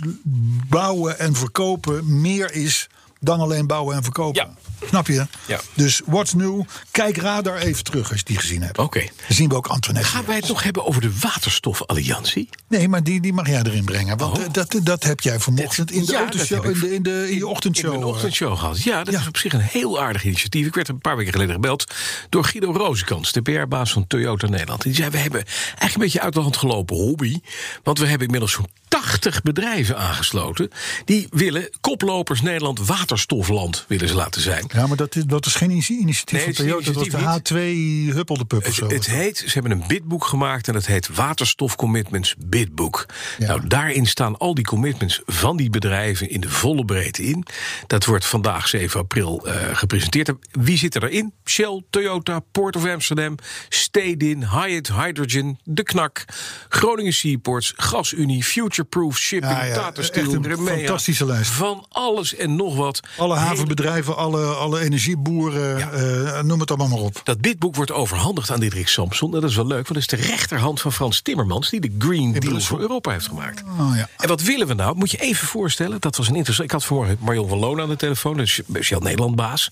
bouwen en verkopen meer is dan alleen bouwen en verkopen. Snap je?
Ja.
Dus what's new? Kijk Radar even terug als je die gezien hebt.
Oké.
Dan zien we ook Antoinette.
Gaan
weer.
wij het nog hebben over de waterstofalliantie?
Nee, maar die, die mag jij erin brengen. Want
Oh.
eh, dat, dat heb jij vanochtend in de
Ja,
autoshow,
dat heb
in
ik-
de, in de, in je ochtendshow.
In mijn
eh,
ochtendshow gehad. Ja, dat
Ja.
is op zich een heel aardig initiatief. Ik werd een paar weken geleden gebeld door Guido Rozenkans, de PR-baas van Toyota Nederland. Die zei: We hebben eigenlijk een beetje uit de hand gelopen hobby. Want we hebben inmiddels zo'n 80 bedrijven aangesloten. Die willen koplopers Nederland waterstofland willen ze laten zijn.
Ja, maar dat is, dat is geen initi- initiatief
Nee,
van
het is
Toyota. Dat
initiatief
was de H2 Huppel de Pup of zo.
Het, het heet, ze hebben een bidboek gemaakt en dat heet Waterstof Commitments Bidboek.
Ja.
Nou, daarin staan al die commitments van die bedrijven in de volle breedte in. Dat wordt vandaag 7 april eh, gepresenteerd. En Wie zit er erin? Shell, Toyota, Port of Amsterdam, Stedin, Hyatt Hydrogen, De Knak, Groningen Seaports, Gasunie, Futureproof Shipping,
Ja, ja,
Tata
echt
Steel,
een
Remea.
fantastische lijst.
Van alles en nog wat.
alle
Hele
havenbedrijven, alle, alle energieboeren, eh, noem het allemaal maar op.
dat bidboek wordt overhandigd aan Diederik Samson. En dat is wel leuk, want dat is de rechterhand van Frans Timmermans... die de Green Deal
Brussel.
voor Europa heeft gemaakt.
Oh, ja.
En wat willen we nou? Moet je even voorstellen. Dat was een interessant. Ik had vanmorgen Marion van Loon aan de telefoon. Dat is Shell Nederland baas.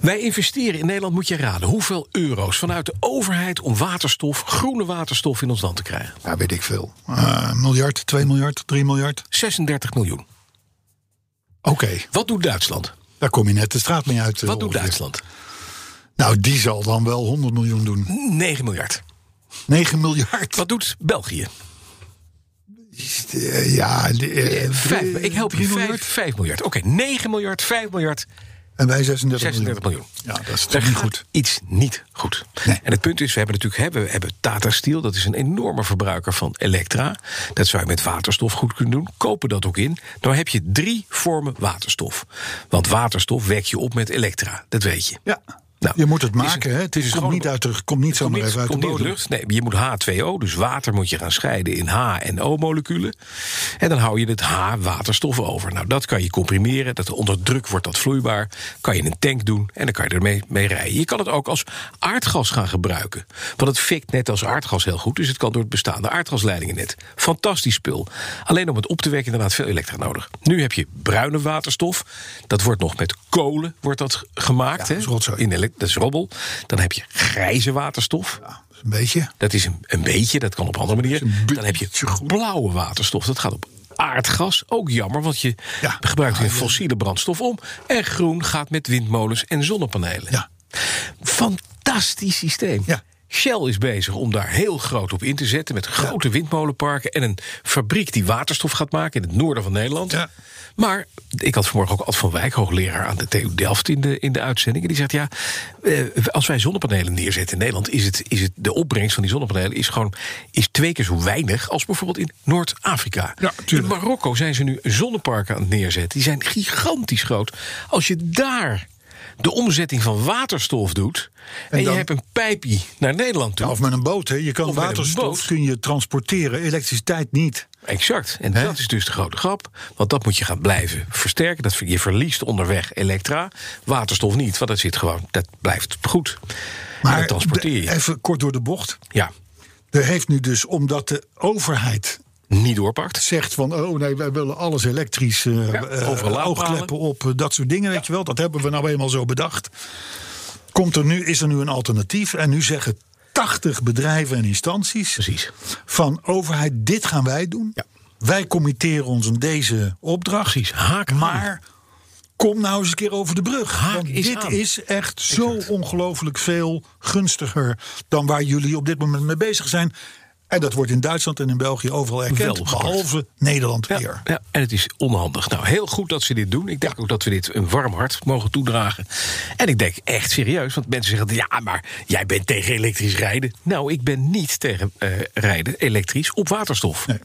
Wij investeren in Nederland, moet je raden. Hoeveel euro's vanuit de overheid om waterstof, groene waterstof in ons land te krijgen?
Ja, weet ik veel. Eh, een miljard, 2 miljard, 3 miljard.
36 miljoen.
Oké,
Wat doet Duitsland?
daar kom je net de straat mee uit. eh,
Wat doet
ongeveer.
Duitsland?
Nou, die zal dan wel 100 miljoen doen.
9 miljard.
9 miljard.
Wat doet België?
Eh, ja, de, eh,
Vijf,
drie-
ik help je.
drie
5, miljard. Oké, 9 miljard, 5 miljard,
En wij 36,
36 miljoen.
Ja, dat is
Daar
toch niet
gaat
goed.
iets niet goed.
Nee.
En het punt is, we hebben natuurlijk hebben, we hebben Tata Steel. Dat is een enorme verbruiker van elektra. Dat zou je met waterstof goed kunnen doen. Kopen dat ook in. Dan heb je drie vormen waterstof. Want waterstof wek je op met elektra. Dat weet je.
Ja.
Nou,
je moet het
is
maken,
een-
hè? Het is, komt,
gewoon-
niet uit de, komt niet
Komt
zomaar
niet-
even uit de
komt niet
bodem.
lucht. Nee, je moet H2O, dus water moet je gaan scheiden in H- en O-moleculen. En dan hou je het H-waterstof over. Nou, dat kan je comprimeren. Dat onder druk wordt dat vloeibaar. Kan je in een tank doen en dan kan je ermee mee rijden. Je kan het ook als aardgas gaan gebruiken. Want het fikt net als aardgas heel goed. Dus het kan door het bestaande aardgasleidingen net. Fantastisch spul. Alleen om het op te wekken inderdaad veel elektra nodig. Nu heb je bruine waterstof. Dat wordt nog met kolen wordt dat g- gemaakt. hè?
dat is rotzooi.
In elek- dat is robbel. Dan heb je grijze waterstof.
Een beetje.
Dat is een, een beetje, dat kan op andere manieren.
een
Dan heb je
beetje goed.
blauwe waterstof. Dat gaat op aardgas. Ook jammer, want je
Ja.
gebruikt weer
Ah, ja.
fossiele brandstof om. En groen gaat met windmolens en zonnepanelen.
Ja.
Fantastisch systeem.
Ja.
Shell is bezig om daar heel groot op in te zetten. Met grote windmolenparken en een fabriek die waterstof gaat maken in het noorden van Nederland.
Ja.
Maar ik had vanmorgen ook Ad van Wijk, hoogleraar aan de TU Delft, in de, in de uitzending. En die zegt: Ja, eh, als wij zonnepanelen neerzetten in Nederland, is, het, is het, de opbrengst van die zonnepanelen is gewoon is twee keer zo weinig als bijvoorbeeld in Noord-Afrika.
Ja,
in
tuurlijk.
Marokko zijn ze nu zonneparken aan het neerzetten. Die zijn gigantisch groot. Als je daar de omzetting van waterstof doet. en,
dan-
je hebt een pijpje naar Nederland toe.
Ja, of met een boot. Hè. Je kan
Of met een
waterstof
boot.
kun je transporteren, elektriciteit niet.
Exact. En
Hè?
dat is dus de grote grap. Want dat moet je gaan blijven versterken. Dat, je verliest onderweg elektra. Waterstof niet, want dat zit gewoon. Dat blijft goed. en dat transporteer je.
de- even kort door de bocht.
ja,
Er heeft nu dus, omdat de overheid
niet doorpakt.
zegt van... oh nee, wij willen alles elektrisch, eh
Ja,
eh,
overal laadpalen.
oogkleppen op, eh, dat soort dingen, weet je wel. Dat hebben we nou eenmaal zo bedacht. Komt er nu, is er nu een alternatief en nu zeggen 80 bedrijven en instanties...
Precies.
van overheid, dit gaan wij doen.
Ja.
Wij committeren ons aan deze opdracht.
Precies, haak aan.
Maar kom nou eens een keer over de brug.
Haak
want
is
dit
aan.
is echt zo ongelooflijk veel gunstiger... dan waar jullie op dit moment mee bezig zijn... En dat wordt in Duitsland en in België overal erkend.
Wel gepakt.
behalve Nederland
Ja,
weer.
ja, en het is onhandig. Nou, heel goed dat ze dit doen. Ik denk ook dat we dit een warm hart mogen toedragen. En ik denk echt serieus, want mensen zeggen... ja, maar jij bent tegen elektrisch rijden. Nou, ik ben niet tegen eh, rijden elektrisch op waterstof.
Nee,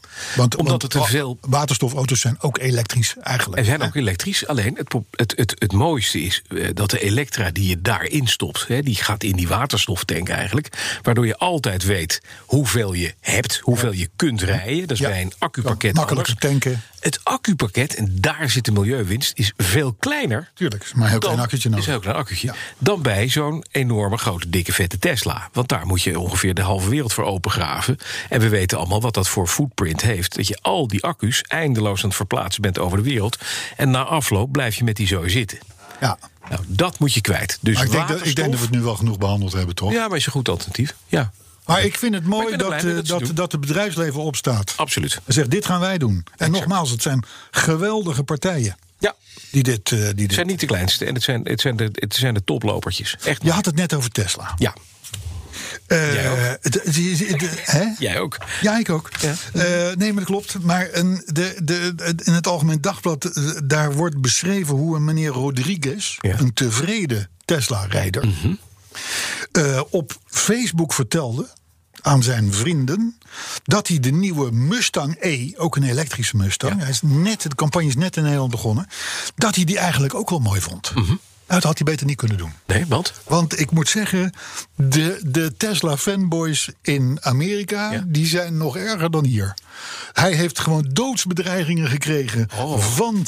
Omdat het te
wa-
veel...
Waterstofauto's zijn ook elektrisch eigenlijk.
Er zijn ook elektrisch, alleen het, pro- het, het, het mooiste is eh, dat de elektra die je daarin stopt... Hè, die gaat in die waterstoftank eigenlijk... waardoor je altijd weet hoeveel je hebt, hoeveel je kunt rijden. Dat is
Ja.
bij een accupakket
Ja, makkelijker
anders.
tanken.
Het accupakket, en daar zit de milieuwinst, is veel kleiner.
Tuurlijk, is maar een heel
dan-
klein akkertje
Is
nodig.
een heel klein akkertje. Dan bij zo'n enorme, grote, dikke, vette Tesla. Want daar moet je ongeveer de halve wereld voor opengraven. En we weten allemaal wat dat voor footprint heeft. Dat je al die accu's eindeloos aan het verplaatsen bent over de wereld. En na afloop blijf je met die zo zitten.
Ja.
Nou, dat moet je kwijt. Dus
Maar ik denk, dat,
waterstof-
ik denk dat we het nu wel genoeg behandeld hebben, toch?
Ja, maar is een goed alternatief. Ja,
Maar ik vind het mooi
Maar ik ben er
dat,
blij mee dat
eh,
ze
dat,
doen.
dat het bedrijfsleven opstaat.
absoluut.
En zegt, dit gaan wij doen. En nogmaals, het zijn geweldige partijen
Ja,
die dit... eh, die dit
het zijn niet de kleinste. En het zijn, het zijn, de, het zijn de toplopertjes. Echt.
Je had het net over Tesla.
Ja,
Eh,
Jij ook.
het- het- het- het- hè?
jij ook.
Ja, ik ook.
Ja.
Eh, nee, maar dat klopt. Maar een, de, de, het- in het Algemeen Dagblad, eh, daar wordt beschreven hoe een meneer Rodriguez,
Ja. Mhm.
een tevreden Tesla-rijder, eh, op Facebook vertelde aan zijn vrienden dat hij de nieuwe Mustang E, ook een elektrische Mustang, hij is net, de campagne is net in Nederland begonnen, dat hij die eigenlijk ook wel mooi vond.
Mhm.
Nou, Dat had hij beter niet kunnen doen.
Nee, want?
Want ik moet zeggen, de, de Tesla-fanboys in Amerika...
Ja.
die zijn nog erger dan hier. Hij heeft gewoon doodsbedreigingen gekregen...
Oh.
van,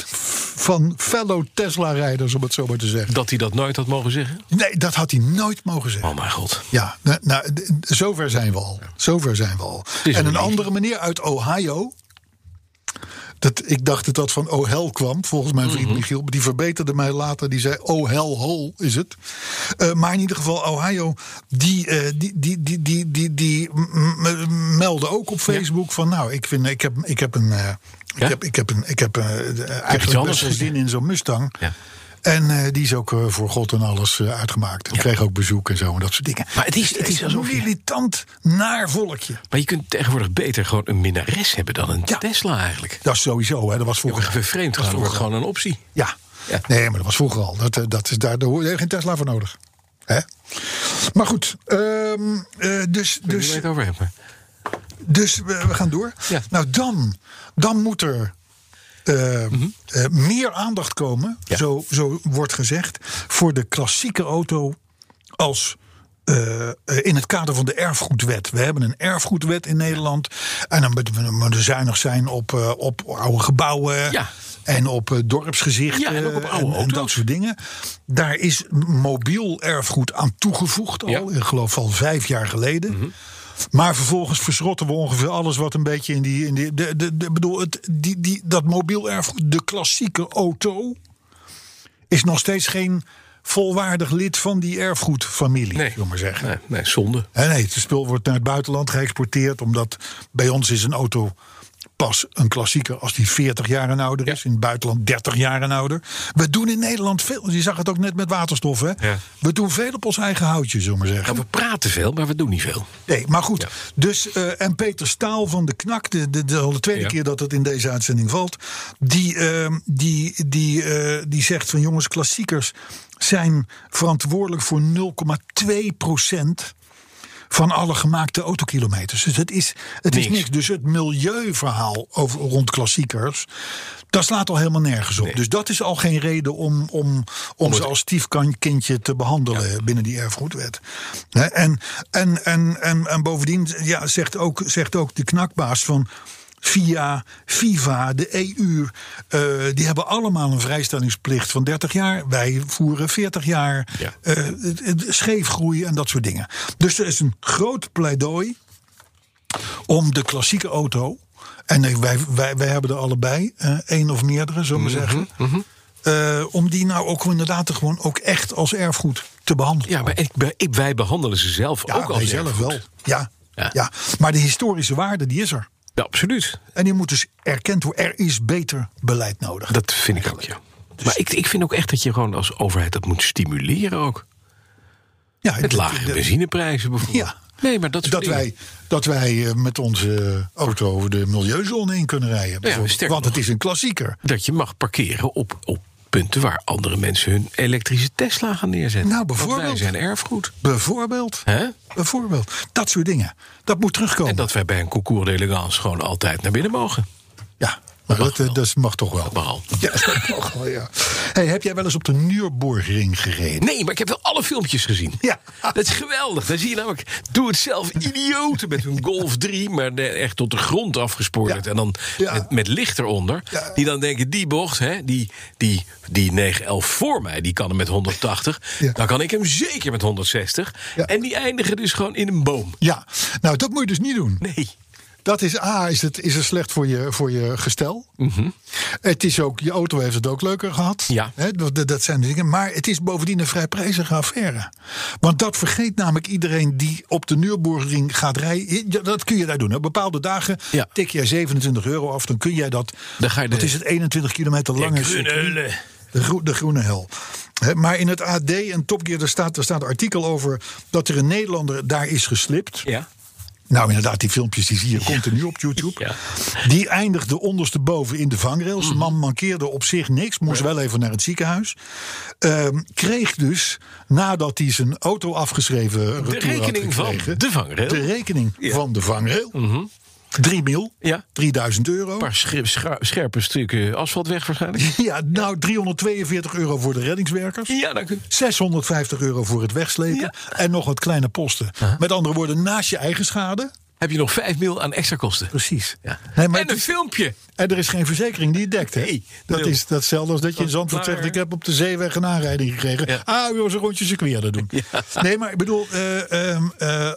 van fellow Tesla-rijders, om het zo maar te zeggen.
Dat hij dat nooit had mogen zeggen?
Nee, dat had hij nooit mogen zeggen.
Oh mijn god.
Ja, nou, nou, d- d- zover zijn we al. Zover zijn we al.
is
En
een
een
liefje.
andere meneer uit Ohio... Dat, ik dacht dat dat van Ohel kwam, volgens mijn vriend
Mhm.
Michiel. Die verbeterde mij later. Die zei Ohel Hol is het. Eh, maar in ieder geval Ohio, die, eh, die, die, die, die, die, die m- m- meldde ook op Facebook van... nou, ik, vind, ik, heb, ik heb een... eh,
Ja?
Ik heb, ik heb, een, ik heb eh, eigenlijk
anders
best geen
gezien.
zin in zo'n Mustang.
Ja.
En eh, die is ook eh, voor God en alles eh, uitgemaakt. En kreeg ook bezoek en zo en dat soort dingen.
Maar het is- het is alsof je-
een militant naar volkje.
Maar je kunt tegenwoordig beter gewoon een minnares hebben dan een
Ja.
Tesla eigenlijk.
Dat is sowieso, hè. dat was vroeger.
Vervreemd
Dat
gaan
is
wordt
vroeger al.
gewoon een optie.
Ja.
Ja.
nee, maar dat was vroeger al. Dat, eh, dat is, daar, daar hoor je geen Tesla voor nodig. Hè? Maar goed, ehm, eh, dus,
Kun je
dus,
het over hebben?
dus we, we gaan door.
Ja.
Nou, dan, dan moet er eh, eh, meer aandacht komen,
Mhm. Ja.
zo, zo wordt gezegd, voor de klassieke auto als. eh, eh, in het kader van de erfgoedwet. We hebben een erfgoedwet in Nederland. En dan moeten we- moeten we zuinig zijn op, eh, op oude gebouwen.
Ja.
En op eh, dorpsgezichten.
Ja, en ook op oude
en dat
auto's.
soort dingen. Daar is mobiel erfgoed aan toegevoegd al.
Ja.
Ik geloof al vijf jaar geleden.
Mhm.
Maar vervolgens verschrotten we ongeveer alles wat een beetje in die. In die de, de, de, bedoel, het, die, die, dat mobiel erfgoed, de klassieke auto, is nog steeds geen volwaardig lid van die erfgoedfamilie,
Nee.
wil ik maar zeggen.
Nee, nee zonde.
Hè, nee, het spul wordt naar het buitenland geëxporteerd, omdat bij ons is een auto
pas een klassieker als die 40 jaar en ouder is. In het buitenland 30 jaar en ouder. We doen in Nederland veel. Je zag het ook net met waterstof. Hè?
Ja.
We doen veel op ons eigen houtje, zullen we maar zeggen.
Nou, we praten veel, maar we doen niet veel.
Nee, maar goed.
Ja.
Dus, eh, en Peter Staal van de Knak, de, de, de, al de tweede
Ja.
keer dat het in deze uitzending valt, die, ehm, die, die, eh, die zegt van jongens, klassiekers zijn verantwoordelijk voor 0,2 van alle gemaakte autokilometers. Dus het is, het is
Niks.
niks. Dus het milieuverhaal over, rond klassiekers, dat slaat al helemaal nergens op. Dus dat is al geen reden om, om, om ze als stiefkindje te behandelen binnen die erfgoedwet. Hè, En, en, en, en, en bovendien ja, zegt, ook, zegt ook de knakbaas van. VIA, FIFA, de EU, eh, die hebben allemaal een vrijstellingsplicht van 30 jaar. Wij voeren 40 jaar
Ja.
eh, het- het- scheefgroei en dat soort dingen. Dus er is een groot pleidooi om de klassieke auto. En nee, wij, wij, wij hebben er allebei eh, één of meerdere, zullen we
Mhm,
zeggen. eh, om die nou ook inderdaad gewoon ook echt als erfgoed te behandelen.
Ja, maar ik, be- ik- wij behandelen ze zelf ook
wij
als
zelf
erfgoed.
wel. Ja,
Ja.
ja. maar de historische waarde die is er.
Ja, absoluut.
En die moet dus erkend worden. Er is beter beleid nodig.
Dat vind ik ook, ja.
Dus-
Maar ik, ik vind ook echt dat je gewoon als overheid dat moet stimuleren ook.
ja,
Met
dat-
lagere
dat-
benzineprijzen bijvoorbeeld.
Ja.
Nee, maar dat soort
Dat
dingen.
wij, dat wij eh, met onze auto over de milieuzone in kunnen rijden. bijvoorbeeld.
sterker
Want het
nog.
is een klassieker.
Dat je mag parkeren op, op punten waar andere mensen hun elektrische Tesla gaan neerzetten.
Nou,
Want
bijvoorbeeld.
wij zijn erfgoed.
Bijvoorbeeld.
Hè?
Bijvoorbeeld. Dat soort dingen. Dat moet terugkomen.
En dat wij bij een concours d'élégance gewoon altijd naar binnen mogen.
Ja, maar dat, eh, dat mag toch wel.
mag al.
Ja, dat mag wel, ja. Hey, heb jij wel eens op de Nürburgring gereden?
Nee, maar ik heb wel alle filmpjes gezien.
Ja.
Dat is geweldig. Dan zie je namelijk, doe het zelf, idioten met hun Golf 3, maar de- echt tot de grond afgespoord.
Ja.
En dan
Ja.
met, met licht eronder.
Ja.
Die dan denken, die bocht, hè, die, die, die 911 voor mij, die kan hem met 180.
Ja.
Dan kan ik hem zeker met 160.
Ja.
En die eindigen dus gewoon in een boom.
Ja, nou dat moet je dus niet doen.
Nee.
Dat is A, is het, is het slecht voor je, voor je gestel. Het is ook, je auto heeft het ook leuker gehad.
Mhm. Ja.
Hè, dat, dat- dat zijn de dingen. Maar het is bovendien een vrij prijzige affaire. Want dat vergeet namelijk iedereen die op de Nürburgring gaat rijden. Ja, Dat kun je daar doen. Op bepaalde dagen
Ja.
tik jij 27 euro af. Dan kun jij dat.
Dan ga je
dat
de-
is het 21 kilometer lange
groene
circuit.
helle.
De, groe- de groene hel. Hè, maar in het AD en Top Gear, daar staat, daar staat een artikel over dat er een Nederlander daar is geslipt.
Ja.
Nou, inderdaad, die filmpjes die zie je continu op YouTube.
Ja. Mhm.
Die eindigde ondersteboven in de vangrails. De man mankeerde op zich niks, moest wel even naar het ziekenhuis. Ehm, kreeg dus, nadat hij zijn auto afgeschreven
De
retour had
rekening van
gekregen,
de vangrail.
de rekening
Ja. Mhm.
van de vangrail. Drie mil,
Ja.
3000 euro.
Een paar scherp- scha- scherpe stukken asfalt weg waarschijnlijk.
Ja, nou, 342 euro voor de reddingswerkers.
Ja, dank u.
650 euro voor het wegslepen. En nog wat kleine posten. Met andere woorden, naast je eigen schade.
Heb je nog 5 mil aan extra kosten?
Precies.
Ja.
Nee, maar
en een
het-
filmpje.
En er is geen verzekering die het dekt, hè?
Nee,
dat
nul.
is datzelfde als dat je in Zandvoort
Klaar.
zegt... ik heb op de zeeweg een aanrijding gekregen.
Ja.
Ah, we een rondje circuit aan het doen. Nee, maar ik bedoel... eh, ehm, eh, eh,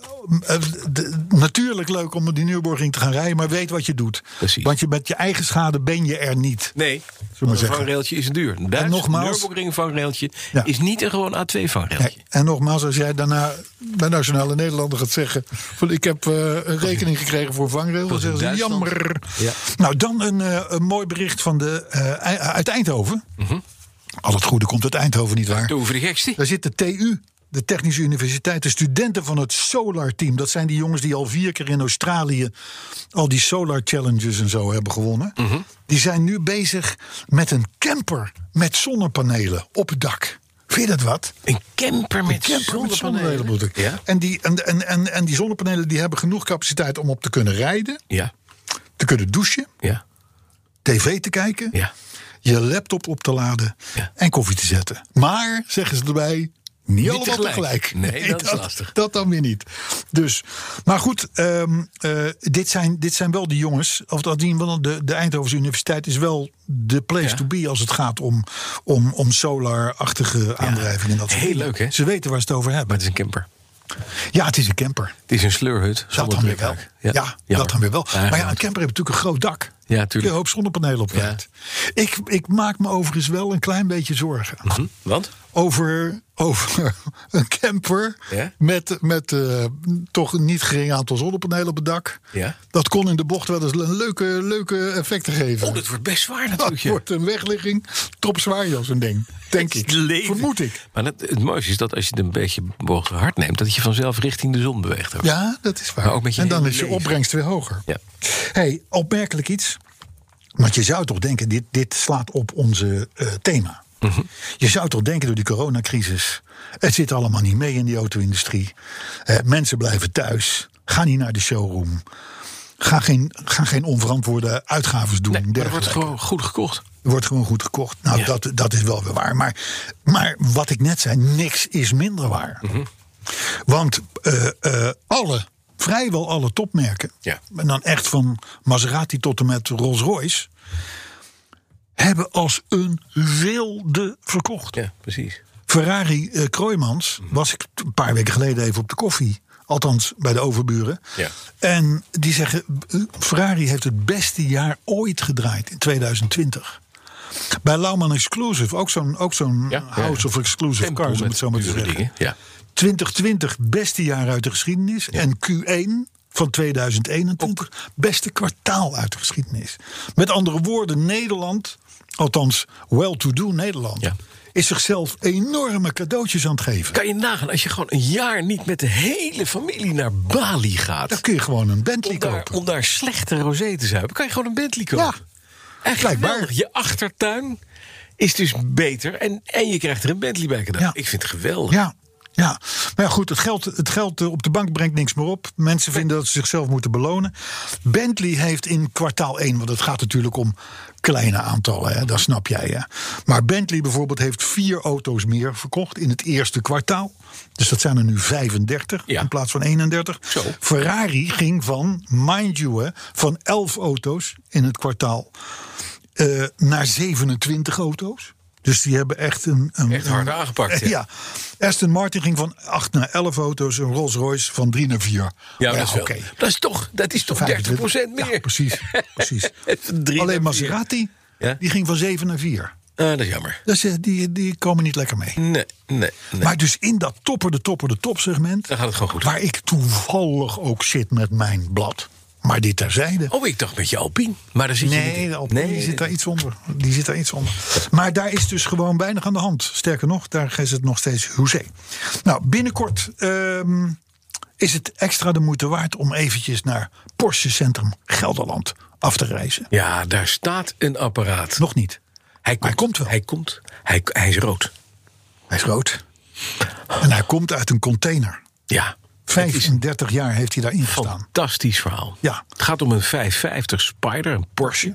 de- natuurlijk leuk om op die Nürburgring te gaan rijden... maar weet wat je doet.
Precies.
Want je, met je eigen schade ben je er niet.
Nee,
maar
een
zeggen.
vangrailtje is duur. Een Duits
nogmaals-
Nürburgring vangrailtje
Ja.
is niet een gewoon A2-vangrailtje.
Nee, En nogmaals, als jij daarna bij Nationale Nederlander gaat zeggen... Van, ik heb eh, een rekening gekregen voor vangrail, dan
was in
zeggen ze
Duitsland.
jammer. Nou, dan een, eh, een mooi bericht van de, eh, Ei- uit Eindhoven.
Mhm.
Al het goede komt uit Eindhoven, nietwaar?
Doe voor de gekste.
Daar zit de TU, de Technische Universiteit, de studenten van het Solar Team. Dat zijn die jongens die al vier keer in Australië al die Solar Challenges en zo hebben gewonnen.
Mhm.
Die zijn nu bezig met een camper met zonnepanelen op het dak. Vind je dat wat?
Een camper met
Een camper met zonnepanelen bedoel ik.
Ja?
En, die, en, en, en, en die zonnepanelen die hebben genoeg capaciteit om op te kunnen rijden,
Ja,
te kunnen douchen,
ja,
tv te kijken,
ja.
je laptop op te laden
Ja.
en koffie te zetten. Maar, zeggen ze erbij, niet, allemaal
tegelijk.
tegelijk.
Nee, dat is lastig.
Dat dan weer niet. Dus, maar goed, ehm, eh, dit, zijn, dit zijn wel de jongens. Of dat zien we dan, de, de Eindhovense Universiteit is wel de place
Ja.
to be als het gaat om, om, om solar-achtige aandrijvingen. en Dat soort
Heel
dingen.
leuk, hè?
Ze weten waar ze het over
Maar
hebben.
het is een camper.
Ja, het is een camper.
Het is een sleurhut.
Dat
zonder
dan weer wel.
trekhaak.
Ja,
jammer.
dat dan weer wel. Maar ja, een
goed.
camper heeft natuurlijk een groot dak.
Ja,
Je een
tuurlijk.
hoop zonnepanelen op kwijt. Ik, ik maak me overigens wel een klein beetje zorgen.
Hm, Want?
Over, over een camper
Ja.
met, met eh, toch een niet gering aantal zonnepanelen op het dak.
Ja.
Dat kon in de bocht wel eens een leuke, leuke effecten geven.
Oh, dat wordt best zwaar
dat
natuurlijk. ja.
wordt een wegligging. Topzwaar, Jos, een ding. Denk
Het
ik.
is leven.
Vermoed ik.
Maar dat, het mooiste is dat als je het een beetje behoorlijk hard neemt... dat je vanzelf richting de zon beweegt. ook.
Ja, dat is waar.
Maar ook met je
en dan
hele
is je
leven.
opbrengst weer hoger.
Ja.
Hey, opmerkelijk iets. Want je zou toch denken, dit, dit slaat op onze eh, thema.
Mhm.
Je zou toch denken door die coronacrisis... het zit allemaal niet mee in die auto-industrie. Eh, mensen blijven thuis. Ga niet naar de showroom. Ga geen, ga geen onverantwoorde uitgaves doen.
Nee, maar dat wordt
dergelijke.
gewoon goed gekocht.
Er wordt gewoon goed gekocht. Nou,
Ja.
dat, dat is wel weer waar. Maar, maar wat ik net zei, niks is minder waar.
Mhm.
Want eh, eh, alle, vrijwel alle topmerken...
Ja.
en dan echt van Maserati tot en met Rolls-Royce... hebben als een wilde verkocht.
Ja, precies.
Ferrari eh Kroijmans
Mhm.
was ik t- een paar weken geleden even op de koffie. Althans, bij de overburen.
Ja.
En die zeggen, eh, Ferrari heeft het beste jaar ooit gedraaid in 2020. Bij Lauman Exclusive, ook zo'n ook zo'n
Ja, ja.
House of Exclusive
Tempo
Cars, om
met
het zo maar te
dure
zeggen.
dingen, ja.
2020, beste jaar uit de geschiedenis. En Q1 van 2021, beste kwartaal uit de geschiedenis. Met andere woorden, Nederland, althans well-to-do Nederland...
Ja.
is zichzelf enorme cadeautjes aan het geven.
Kan je nagaan, als je gewoon een jaar niet met de hele familie naar Bali gaat...
Dan kun je gewoon een Bentley
om, daar,
kopen.
om daar slechte rosé te zuipen, kan je gewoon een Bentley kopen.
Ja,
Echt
blijkbaar.
geweldig. Je achtertuin is dus beter en, en je krijgt er een Bentley bij cadeau.
Ja.
Ik vind het geweldig.
Ja, ja. Maar ja, goed, het geld, het geld eh, op de bank brengt niks meer op. Mensen vinden dat ze zichzelf moeten belonen. Bentley heeft in kwartaal 1, want het gaat natuurlijk om kleine aantallen, hè, dat snap jij. Hè. Maar Bentley bijvoorbeeld heeft vier auto's meer verkocht in het eerste kwartaal. Dus dat zijn er nu 35
Ja.
in plaats van 31.
Zo.
Ferrari ging van, mind you, hè, van 11 auto's in het kwartaal eh, naar 27 auto's. Dus die hebben echt een. een
Echt hard
een-
aangepakt, ja.
Ja. Aston Martin ging van 8 naar 11 auto's. Een Rolls Royce van 3 naar Oh 4.
Ja, dat is wel. Dat is toch, dat is toch 30 meer.
Ja, precies. precies.
Drie
Alleen
naar vier.
Maserati,
Ja.
die ging van 7 naar 4.
Ah, dat is jammer.
Dus eh, die, die komen niet lekker mee.
Nee, nee, nee.
Maar dus in dat topper de topper de topsegment...
Dan gaat het gewoon goed.
Waar ik toevallig ook zit met mijn blad. Maar dit terzijde.
Oh, ik dacht met je Alpine. Maar daar zit je niet
Nee,
in.
de Alpine die zit daar iets onder. Die zit daar iets onder. Maar daar is dus gewoon weinig aan de hand. Sterker nog, daar is het nog steeds hoezee. Nou, binnenkort ehm, is het extra de moeite waard om eventjes naar Porsche Centrum Gelderland af te reizen.
Ja, daar staat een apparaat.
Nog niet.
Hij
hij komt wel.
Hij komt. Hij, hij is rood.
Hij is rood. En hij komt uit een container.
Ja. Het is
35 jaar heeft hij daarin
een
gestaan.
fantastisch verhaal.
Ja.
Het gaat om een 550 Spider, een Porsche.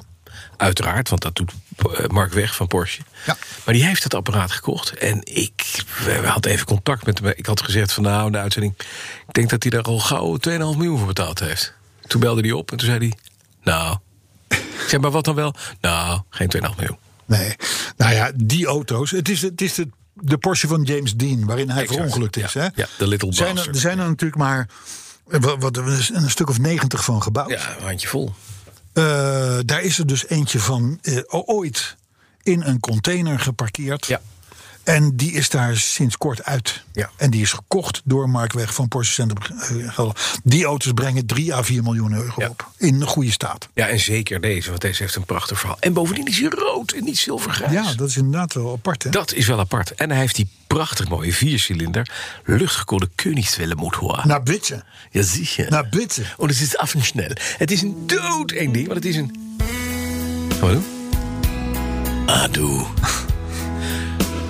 Uiteraard, want dat doet eh, Mark Weg van Porsche.
Ja.
Maar die heeft het apparaat gekocht. En ik we we hadden even contact met hem. Ik had gezegd van nou, in de uitzending... ik denk dat hij daar al gauw 2,5 miljoen voor betaald heeft. Toen belde hij op en toen zei hij... nou, ik zei maar wat dan wel? Nou, geen 2,5 miljoen.
Nee. Nou ja, die auto's. Het is, het is de, de Porsche van James Dean, waarin hij
Exact,
verongelukt is.
ja.
hè?
Ja, de Little
zijn er,
Bastard.
er zijn er natuurlijk maar eh, wat, wat, een stuk of negentig van gebouwd.
Ja, een handje vol.
Eh, daar is er dus eentje van eh, o- ooit in een container geparkeerd.
Ja.
En die is daar sinds kort uit.
Ja.
En die is gekocht door Mark Weg van Porsche Centrum. eh, Gelderland. Die auto's brengen 3 à 4 miljoen euro
Ja.
op. In een goede staat.
Ja, en zeker deze, want deze heeft een prachtig verhaal. En bovendien is hij rood en niet zilvergrijs.
Ja, dat is inderdaad wel apart. Hè?
Dat is wel apart. En hij heeft die prachtig mooie viercilinder luchtgekoelde Königswellemotor.
Naar bitje.
ja, zie je.
Naar bitje.
oh, dat is af en snel. Het is een doodeng ding, want het is een... Gaan we doen? Adoe.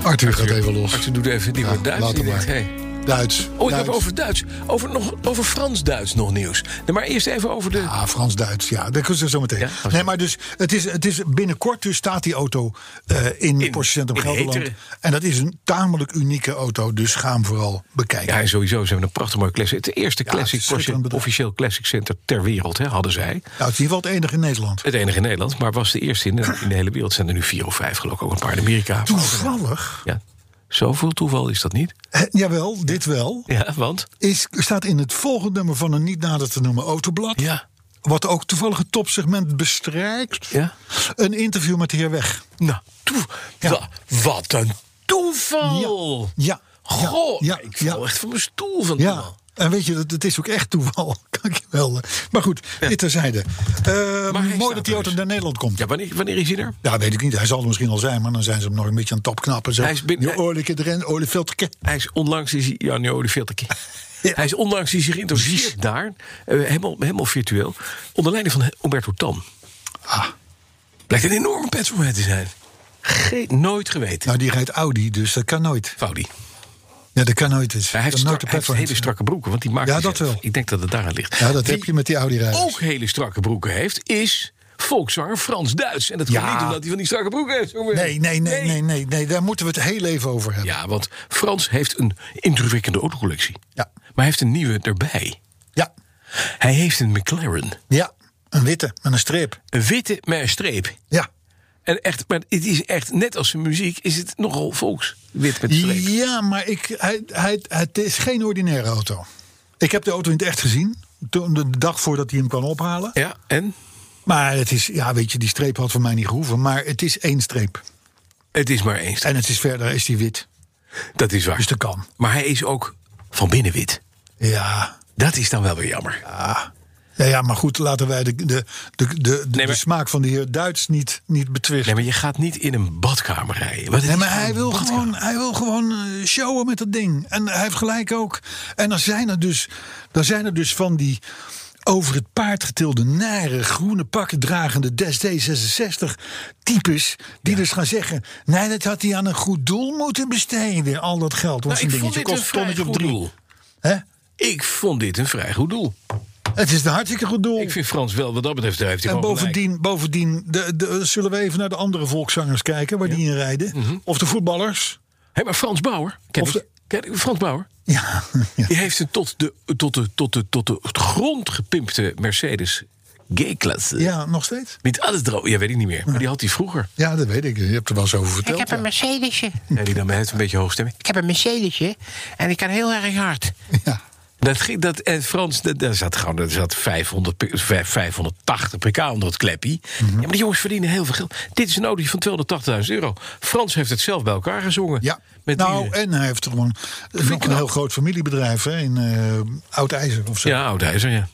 Arthur gaat even los.
Arthur doet even, die
Ja,
wordt Duits.
laat
Die
hem
denkt,
maar.
hey.
Duits.
Oh, ik
Duits.
heb over Duits. Over, nog- over Frans-Duits nog nieuws. Nee, maar eerst even over de...
Ah, Frans-Duits, ja. Dat kunnen ze zo meteen.
Ja? Oh,
nee,
sorry.
maar dus, het is, het is binnenkort dus staat die auto eh, in,
In-
Porsche Centrum
in
Gelderland.
Heteren.
En dat is een tamelijk unieke auto, dus ga hem vooral bekijken.
Ja, en sowieso, ze hebben een prachtig mooie classic. Het eerste
Ja,
classic,
het is
Porsche,
schitterend bedrijf.
officieel classic center ter wereld, hè, hadden zij.
Nou, het is in ieder geval het enige in Nederland.
Het enige in Nederland, maar was de eerste in de, in de hele wereld. Zijn er nu vier of vijf, geloof ik, ook een paar in Amerika.
Toevallig,
Ja, zoveel toeval is dat niet.
eh, jawel, dit wel,
Ja, want?
is, staat in het volgende nummer van een niet nader te noemen autoblad.
Ja.
Wat ook toevallig het topsegment bestrijkt.
Ja.
Een interview met de heer Weg.
Nou, toe,
Ja.
wa- wat een toeval!
Ja,
Goh,
ja,
ik
ja.
val echt van mijn stoel van
Ja. En weet je, dat, het is ook echt toeval, kan ik je wel. eh. Maar goed, dit terzijde. Eh,
Maar hij
mooi
staat
dat
er
die auto
dus.
naar Nederland komt.
Ja, wanneer, wanneer is hij er?
Ja, weet ik niet. Hij zal er misschien al zijn, maar dan zijn ze hem nog een beetje aan het topknappen. Zo.
Hij is binnen-
Die oorlijke erin, oliefilterke.
Hij is onlangs is hij, ja, nu de veel te keer.
Ja.
Hij is onlangs is hij geïntroduceerd daar, eh, helemaal, helemaal virtueel, onder leiding van Umberto Tan.
Ah,
Blijkt een enorme petrolhead te zijn. Ge- nooit geweten.
nou, die rijdt Audi, dus dat kan nooit.
Faudi.
Ja, dat kan nooit. Dus.
Hij heeft,
dat kan
strak-
nooit de
hij heeft
petrolhead
hele strakke broeken, want die maakt
Ja,
hij
dat
zelf.
wel.
Ik denk dat het daaraan ligt.
zijn. Ja, dat
Wie
heb je met die Audi-rijders.
ook hele strakke broeken heeft, is volkszanger Frans Duits. En dat
Ja.
kan niet omdat hij van die strakke broeken heeft. jongen.
Nee, nee, nee, nee, nee, nee. Daar moeten we het heel even over hebben.
Ja, want Frans heeft een indrukwekkende autocollectie.
Ja.
Maar hij heeft een nieuwe erbij.
Ja,
Hij heeft een McLaren.
ja. Een witte met een streep.
Een witte met een streep.
Ja.
En echt, maar het is echt, net als zijn muziek, is het nogal volks. Wit met streep.
Ja, maar ik, hij, hij, het is geen ordinaire auto. Ik heb de auto in het echt gezien. Toen, de dag voordat hij hem kan ophalen.
Ja, en?
Maar het is, ja, weet je, die streep had voor mij niet gehoeven. Maar het is één streep.
Het is maar eens.
En het is verder, is die wit.
Dat is waar.
Dus dat kan.
Maar hij is ook van binnen wit.
Ja.
Dat is dan wel weer jammer.
Ja, ja, maar goed, laten wij de, de, de, de, de,
Nee, maar-
de smaak van de heer Duits niet, niet
Nee,
betwisten.
maar je gaat niet in een badkamer rijden. Want het
Nee,
is
maar
gewoon
hij
een
wil
badkamer.
gewoon, hij wil gewoon eh, showen met dat ding. En hij heeft gelijk ook. En dan zijn er dus, dan zijn er dus van die over het paard getilde, nare, groene pakken dragende des D66 types. Die dus gaan zeggen: nee, dat had hij aan een goed doel moeten besteden. Al dat geld. Want
Nou, ik
zo'n
vond
dingetje
dit een
kost een
vrij
tonnetje
goed
of drie. Oh.
doel.
Hè?
Ik vond dit een vrij goed doel.
Het is een hartstikke goed doel.
Ik vind Frans wel, wat dat betreft, daar heeft hij
En
gewoon gelijk.
bovendien, bovendien de, de, zullen we even naar de andere volkszangers kijken waar die in rijden.
Mhm.
Of de voetballers.
Hé, maar Frans Bauer, ken
Of
ik.
de-
Ken ik- Frans Bauer,
Ja, ja.
die heeft een tot de, tot de, tot de, tot de grond gepimpte Mercedes G-klasse.
ja, nog steeds.
Niet alles erop, ja, weet ik niet meer. Maar die had hij vroeger.
Ja, dat weet ik. Je hebt er wel eens over verteld.
Ik heb een Mercedesje.
Ja, die dan heeft een beetje hoogstemming.
Ik heb een Mercedesje. En ik kan heel erg hard.
Ja.
Dat, ging- dat, en Frans, dat, daar zat gewoon daar zat 500, p- vijf- 580 pk onder het kleppie.
Mhm.
Ja, maar die jongens verdienen heel veel geld. Dit is een Audi van 280.000 euro. Frans heeft het zelf bij elkaar gezongen.
ja.
Met
nou,
die, eh,
en hij heeft gewoon nog een
knap.
heel groot familiebedrijf hè, in eh Oud-IJzer of zo.
ja, oud ijzer, ja.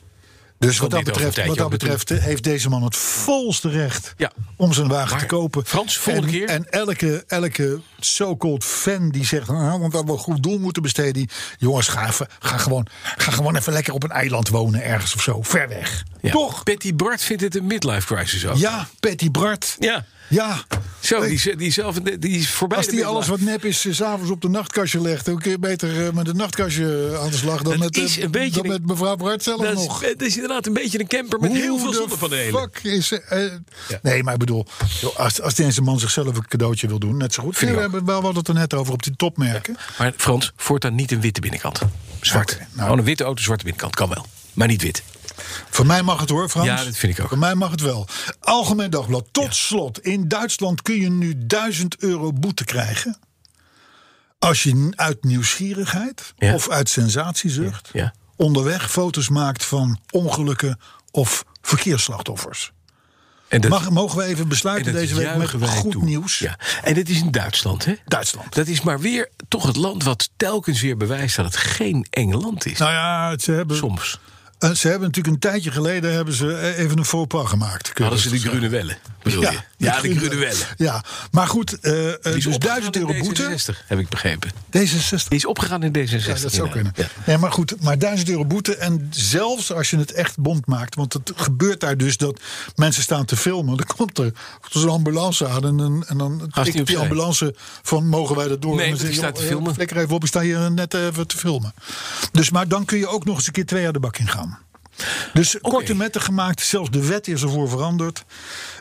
dus wat
komt
dat,
niet over een
betreft, wat
tijdje
dat
ook
betreft eh, heeft deze man het volste recht
Ja.
om zijn wagen
Maar,
te kopen.
Frans, volgende
en,
keer.
En elke, elke so-called fan die zegt, ah, want we hebben een goed doel moeten besteden. die- Jongens, ga, even, ga, gewoon, ga gewoon even lekker op een eiland wonen ergens of zo. Ver weg.
ja.
Toch?
Betty Bart vindt het een midlife crisis ook.
Ja, Patty Bart.
Ja.
Ja.
Zo,
Ik-
die, is- die, is zelf, die is voorbij
Als
de
die alles
midlife.
wat nep is, eh, 's avonds op de nachtkastje legt, dan kun je beter eh, met een nachtkastje aan de slag dan,
Het
met, eh,
is een beetje
dan
een-
met mevrouw Bart zelf
dat is,
nog.
het is inderdaad een beetje een camper met heel
Hoe
veel
de
zonnepanelen.
Fuck is, eh, eh, Nee, maar ik bedoel, joh, als, als deze man zichzelf een cadeautje wil doen, net zo goed.
Vind
Nee,
ik
we
ook.
hebben wel wat het er net over op die topmerken.
Maar Frans, voortaan niet een witte binnenkant. Zwart. Oh,
Oké, nou.
Gewoon een witte auto, zwarte binnenkant. Kan wel. Maar niet wit.
Voor mij mag het hoor, Frans.
Ja, dat vind ik ook.
Voor mij mag het wel. Algemeen Dagblad. Tot slot, in Duitsland kun je nu 1000 euro boete krijgen. Als je n- uit nieuwsgierigheid
Ja.
of uit sensatiezucht
Ja, ja.
onderweg foto's maakt van ongelukken of verkeersslachtoffers.
En dat,
Mag, mogen we even
en
besluiten
dat
deze week met
juichen wij
goed
toe.
nieuws?
Ja. En dit is in Duitsland, hè?
Duitsland.
Dat is maar weer toch het land wat telkens weer bewijst dat het geen eng land is.
Nou ja, ze hebben,
Soms
eh, ze hebben natuurlijk een tijdje geleden hebben ze eh, even een faux pas gemaakt. kun je
hadden ze
rustig
die groene wellen, bedoel je? Ja, de groene wellen.
Ja, maar goed, eh, eh,
Die is
dus
opgegaan
1000
in
euro boete.
D66, heb ik begrepen.
D66.
Die is opgegaan in D66.
Ja, dat zou
inderdaad.
kunnen.
Ja.
Nee, maar goed, maar 1000 euro boete. En zelfs als je het echt bond maakt, want het gebeurt daar dus dat mensen staan te filmen. Dan komt er zo'n ambulance aan en, dan- en dan
die
tikt die
opzij.
ambulance van mogen wij dat door?
Nee,
en dan
want die
zeg je,
staat te
joh,
filmen.
Flikker even op, ik sta hier net even te filmen. Dus, maar dan kun je ook nog eens een keer twee jaar de bak in gaan. Dus korte metten gemaakt, zelfs de wet is ervoor veranderd.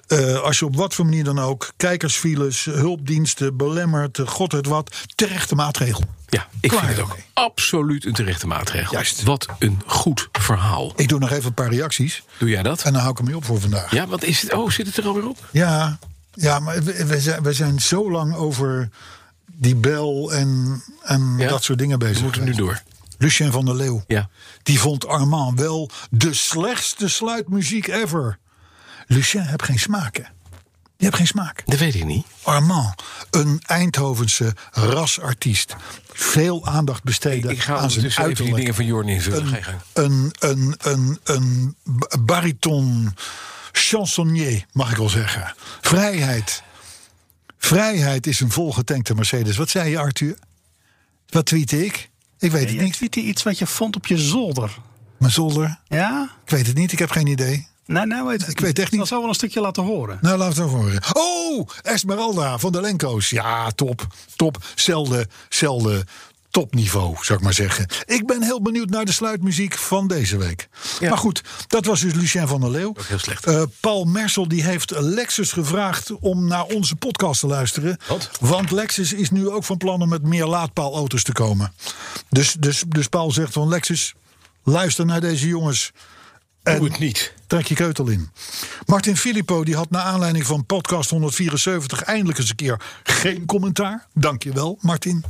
Eh, als je op wat voor manier dan ook, kijkersfiles, hulpdiensten, belemmerd, eh, god het wat, terechte maatregel.
Ja, ik
Klaar
vind het ook
ermee.
absoluut een terechte maatregel.
Juist.
Wat een goed verhaal.
Ik doe nog even een paar reacties.
Doe jij dat?
En dan hou ik hem mee op voor vandaag.
Ja, wat is het? Oh, zit het er alweer op?
Ja, ja maar we, we zijn, we zijn zo lang over die bel en, en
Ja.
dat soort dingen bezig.
We moeten nu
geweest.
door.
Lucien van der Leeuw.
Ja.
Die vond Armand wel de slechtste sluitmuziek ever. Lucien heeft geen smaak, hè? Die hebben geen smaak.
Dat weet ik niet.
Armand, een Eindhovense rasartiest. Veel aandacht besteden
Ik ga
aan zijn
ondertussen even die dingen
uiterlijk.
van Jorn invullen. Ga je
Een,
gang.
een, een, een, een b- bariton chansonnier, mag ik wel zeggen. Vrijheid. Vrijheid is een volgetankte Mercedes. Wat zei je, Arthur? Wat tweette ik? Ik weet het
Je
niet.
tweette iets wat je vond op je zolder.
Mijn zolder?
Ja?
Ik weet het niet, ik heb geen idee.
Nee, nee, weet het
Ik weet echt
Ik zal
niet.
zo wel een stukje laten horen.
Nou, laten we het over horen. Oh, Esmeralda van de Lenko's. Ja, top. Top. Zelden, zelden topniveau, zou ik maar zeggen. Ik ben heel benieuwd naar de sluitmuziek van deze week. Maar goed, dat was dus Lucien van der Leeuw. heel slecht. Paul Mersel die heeft Lexus gevraagd om naar onze podcast te luisteren. Want Lexus is nu ook van plan om met meer laadpaalauto's te komen. Dus, dus, dus Paul zegt van Lexus, luister naar deze jongens. En-
Doe het niet.
Trek je keutel in. Martin Filippo die had naar aanleiding van podcast 174 eindelijk eens een keer geen commentaar. Dankjewel, Martin.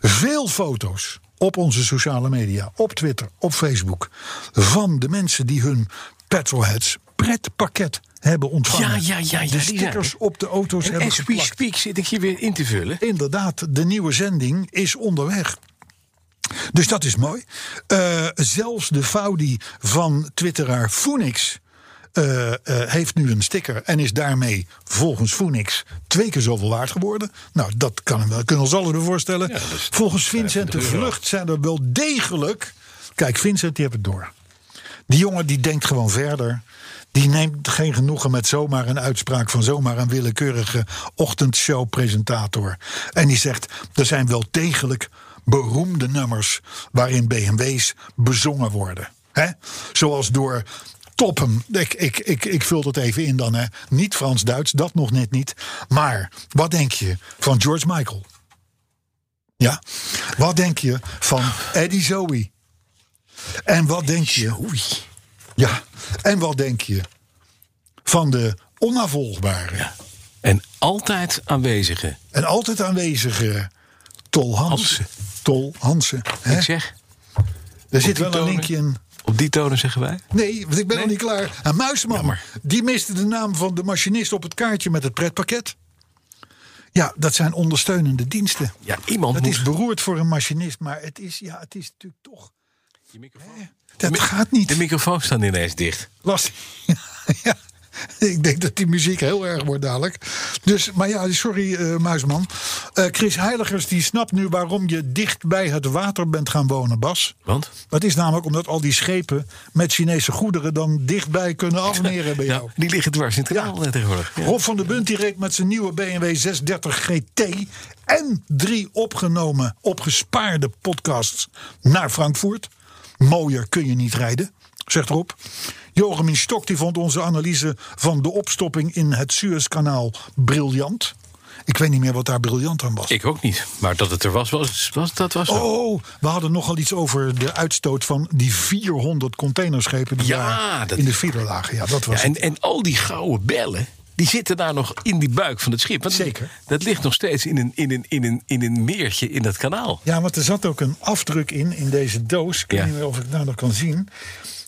Veel foto's op onze sociale media, op Twitter, op Facebook. Van de mensen die hun petrolheads pretpakket hebben ontvangen.
Ja, ja, ja, ja,
de
die zijn
stickers
er.
op de auto's
En
hebben
as we
geplakt.
speak zit ik hier weer in te vullen.
Inderdaad, de nieuwe zending is onderweg. Dus dat is mooi. Eh, zelfs de Faudi van twitteraar Phoenix eh, eh, heeft nu een sticker... en is daarmee volgens Phoenix twee keer zoveel waard geworden. Nou, dat kan hem wel, kunnen ons allen voorstellen. volgens Vincent de Vlucht zijn er wel degelijk... Kijk, Vincent die heeft het door. Die jongen die denkt gewoon verder. Die neemt geen genoegen met zomaar een uitspraak van zomaar een willekeurige ochtendshowpresentator. En die zegt: er zijn wel degelijk beroemde nummers waarin BMW's bezongen worden. hè? Zoals door Toppen. Ik, ik, ik, ik vul dat even in dan. hè? Niet Frans-Duits, dat nog net niet. Maar wat denk je van George Michael? Ja. Wat denk je van Eddie Zoe? En wat denk je? Ja. En wat denk je van de onafvolgbare
En altijd aanwezige.
en altijd aanwezige Tol Hansen?
Hansen.
Tol Hansen. hè?
Ik zeg,
Er zit
die
wel een
tonen.
linkje in.
op die tonen zeggen wij.
Nee, want ik ben nog niet klaar. En Muisman,
Jammer.
die miste de naam van de machinist op het kaartje met het pretpakket. Ja, dat zijn ondersteunende diensten.
Ja, iemand
dat
moet...
is beroerd voor een machinist, maar het is, ja, het is natuurlijk toch.
Je microfoon.
Dat
Mi-
gaat niet.
De microfoon staat ineens dicht.
Lastig. ja. Ik denk dat die muziek heel erg wordt dadelijk. Dus, maar ja, sorry eh, Muisman. Eh, Chris Heiligers die snapt nu waarom je dicht bij het water bent gaan wonen, Bas.
Want?
Dat is namelijk omdat al die schepen met Chinese goederen dan dichtbij kunnen afmeren bij jou.
Ja, Nou, die liggen dwars in het kanaal tegenwoordig. Ja.
Rob van der Bunt die reed met zijn nieuwe BMW 630 GT en drie opgenomen, opgespaarde podcasts naar Frankfurt. Mooier kun je niet rijden, zegt Rob. Jochemin Stok die vond onze analyse van de opstopping in het Suezkanaal briljant. Ik weet niet meer wat daar briljant aan was.
Ik ook niet. Maar dat het er was, was, was dat was zo.
Oh, we hadden nogal iets over de uitstoot van die 400 containerschepen die
Ja,
daar
dat
in de
is-
file lagen. Ja, dat was
Ja, en, en al die gouden bellen, die zitten daar nog in die buik van het schip. Want
Zeker.
Dat ligt nog steeds in een, in een, in een, in een meertje in dat kanaal.
Ja, want er zat ook een afdruk in, in deze doos. Ik
Ja.
weet niet meer of ik nou nog kan zien.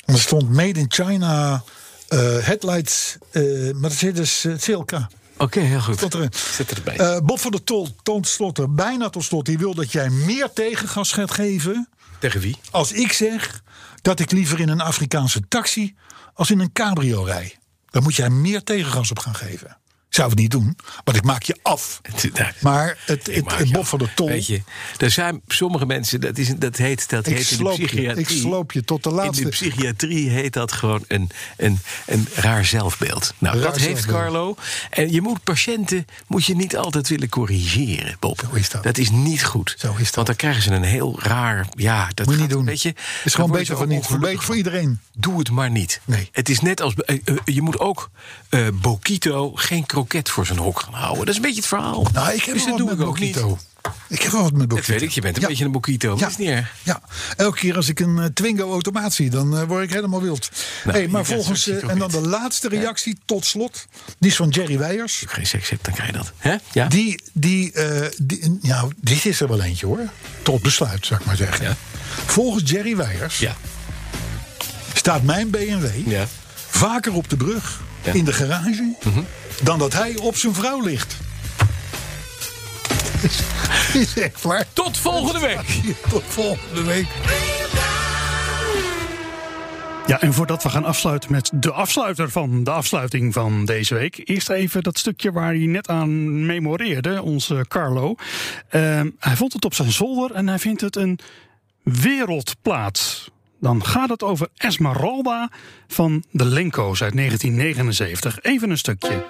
Er stond Made in China eh, Headlights eh, Mercedes eh, CLK.
Oké, heel goed.
Tot erin.
Zit erbij.
Eh, Bob van der Tol, toont slotte, bijna tot slot. Die wil dat jij meer tegengas gaat geven.
Tegen wie?
Als ik zeg dat ik liever in een Afrikaanse taxi als in een cabrio rij. Dan moet jij meer tegengas op gaan geven. Ik zou het niet doen, want ik maak je af.
Het- nou,
Maar het,
ik
het,
maak
het
je
Bob
af.
van der Tol...
Weet je, er zijn sommige mensen, dat, is, dat heet, dat
Ik
heet in de
sloop je.
psychiatrie.
Ik sloop je tot de laatste.
In de psychiatrie heet dat gewoon een, een, een raar zelfbeeld. Nou,
Raar
dat heeft
zelfbeeld.
Carlo. En je moet patiënten moet je niet altijd willen corrigeren, Bob.
Zo is dat.
is niet goed.
Zo is dat.
Want dan krijgen ze een heel raar. Ja, dat
Moet je niet
gaat een
doen.
beetje-
Het is
dan
gewoon
word je
beter
ook
voor niet.
ongelukkig
Beter voor
van.
iedereen.
Doe het maar niet.
Nee.
Het is net als. eh, eh, je moet ook eh Bokito geen kroket voor zijn hok gaan houden. Dat is een beetje het verhaal.
Nou, ik heb
Dus
wel
dat doe
wat
ik
met
ook niet.
Bokito. Ik heb wel wat met Bokito.
Dat weet ik, je bent een
Ja.
beetje een Bokito. maar
Ja.
Dat is niet erg.
Ja, elke keer als ik een eh, Twingo automaat zie, dan eh, word ik helemaal wild. hey, maar
Nou, ja, zo
volgens,
zie ik
eh,
ook
en dan
niet.
de laatste reactie tot slot, die is van Jerry Weijers.
Als je geen seks hebt, dan krijg je dat. Hè? Ja?
Die, die, eh, die, nou, dit is er wel eentje hoor. Tot besluit, zou ik maar zeggen.
Ja.
Volgens Jerry Weijers
ja.
staat mijn BMW
Ja.
vaker op de brug
Ja.
in de garage dan dat hij op zijn vrouw ligt. Is, is echt waar.
Tot volgende week.
Tot volgende week.
Ja, en voordat we gaan afsluiten met de afsluiter van de afsluiting van deze week. Eerst even dat stukje waar hij net aan memoreerde, onze Carlo. Ehm, hij vond het op zijn zolder en hij vindt het een wereldplaats. Dan gaat het over Esmeralda van de Lenko's uit 1979. Even een stukje.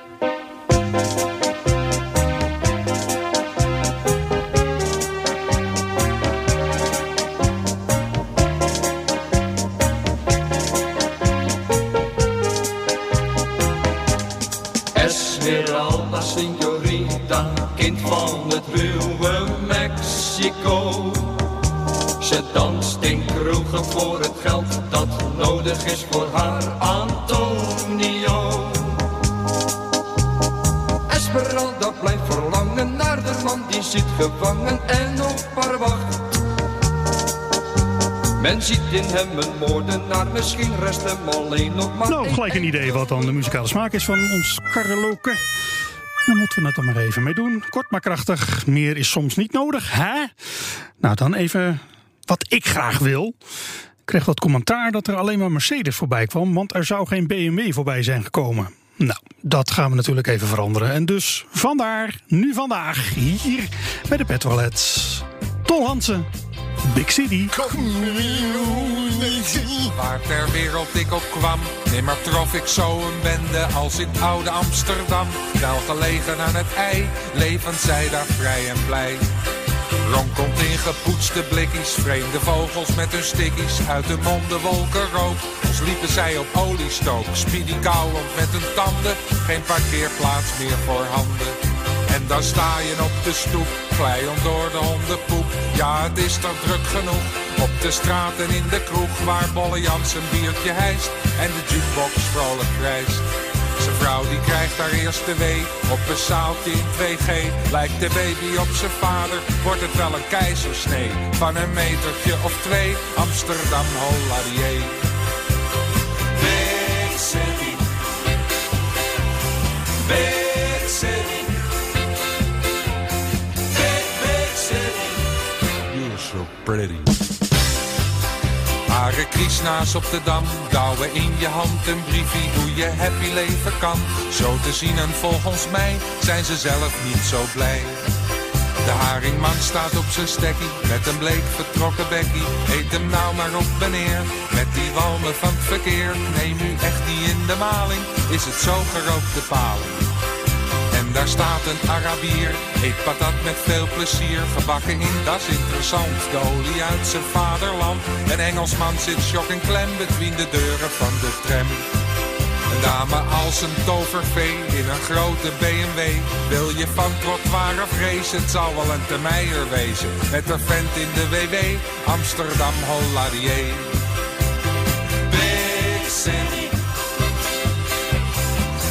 Esmeralda, signorita, kind van het ruwe Mexico. Ze danst in kroegen voor het geld dat nodig is voor haar Antonio. Esmeralda blijft verlangen naar de man die zit gevangen en op haar wacht. Men ziet in hem een moordenaar, misschien rest hem alleen nog maar
Nou, gelijk een idee wat dan de muzikale smaak is van ons karreloke. Dan moeten we het dan maar even mee doen. Kort maar krachtig, meer is soms niet nodig, hè? Nou, dan even wat ik graag wil. Ik kreeg wat commentaar dat er alleen maar Mercedes voorbij kwam... want er zou geen BMW voorbij zijn gekomen. Nou, dat gaan we natuurlijk even veranderen. En dus vandaar, nu vandaag, hier bij de Petrolheads. Tol Hansen, Big City.
Waar ter wereld ik op kwam, nimmer trof ik zo een bende als in oude Amsterdam. Wel gelegen aan het ei, levend zij daar vrij en blij. Ron komt in gepoetste blikjes, vreemde vogels met hun stikkies. Uit hun monden wolken rook, als liepen zij op oliestook. Speedy kauwend met hun tanden, geen parkeerplaats meer voor handen. En dan sta je op de stoep, glijend door de hondenpoep. Ja, het is toch druk genoeg. Op de straat en in de kroeg, waar Bolle Jans een biertje hijst. En de jukebox vrolijk krijst. Zijn vrouw die krijgt haar eerste wee, op een zaaltje in 2G. Lijkt de baby op zijn vader, wordt het wel een keizersnee. Van een metertje of twee, Amsterdam Holladier. Big City. Big City. Big, big city. You're so pretty. Hare Krishna's op de dam, douwen in je hand een briefie hoe je happy leven kan. Zo te zien en volgens mij zijn ze zelf niet zo blij. De haringman staat op zijn stekkie, met een bleek vertrokken bekkie. Eet hem nou maar op meneer, met die walmen van het verkeer. Neem nu echt die in de maling, is het zo gerookte paling. En daar staat een Arabier, eet patat met veel plezier. Gebakken in, dat is interessant, de olie uit zijn vaderland. Een Engelsman zit shock en klem, between de deuren van de tram. Een dame als een tovervee, in een grote BMW. Wil je van trottoir of race, het zal wel een termeier wezen. Met een vent in de WW, Amsterdam Holladier. Big City.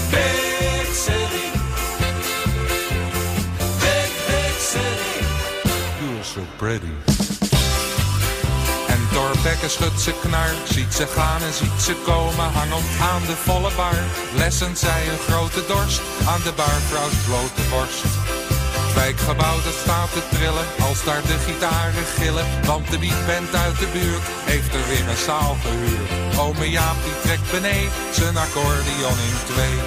Big City. Big, big city. You're so pretty. En Torbekke schudt ze knar, ziet ze gaan en ziet ze komen, hangend aan de volle bar. Lessen zij een grote dorst, aan de barvrouw's blote borst. Het wijkgebouw dat staat te trillen, als daar de gitaren gillen. Want de band uit de buurt heeft er weer een zaal gehuurd. Ome Jaap die trekt beneden, zijn accordeon in twee.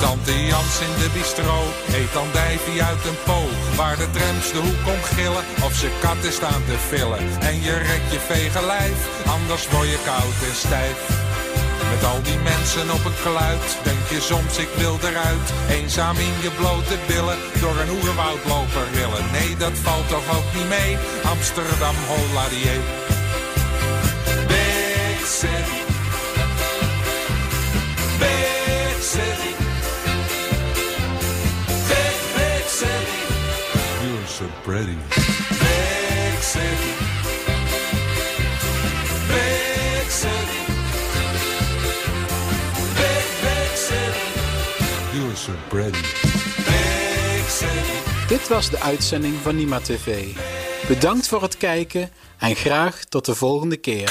Tante Jans in de bistro eet dan dijfie uit een poog. Waar de trams de hoek om gillen of ze katten staan te villen. En je rekt je vege lijf, anders word je koud en stijf. Met al die mensen op een kluit, denk je soms ik wil eruit. Eenzaam in je blote billen, door een oerwoud lopen rillen. Nee, dat valt toch ook niet mee, Amsterdam Holladier. Big city. Big city. Big, big city. You're so pretty. Big city. Big city. Big, big city. You're so pretty. Big city.
Dit was de uitzending van Nima TV. Bedankt voor het kijken en graag tot de volgende keer.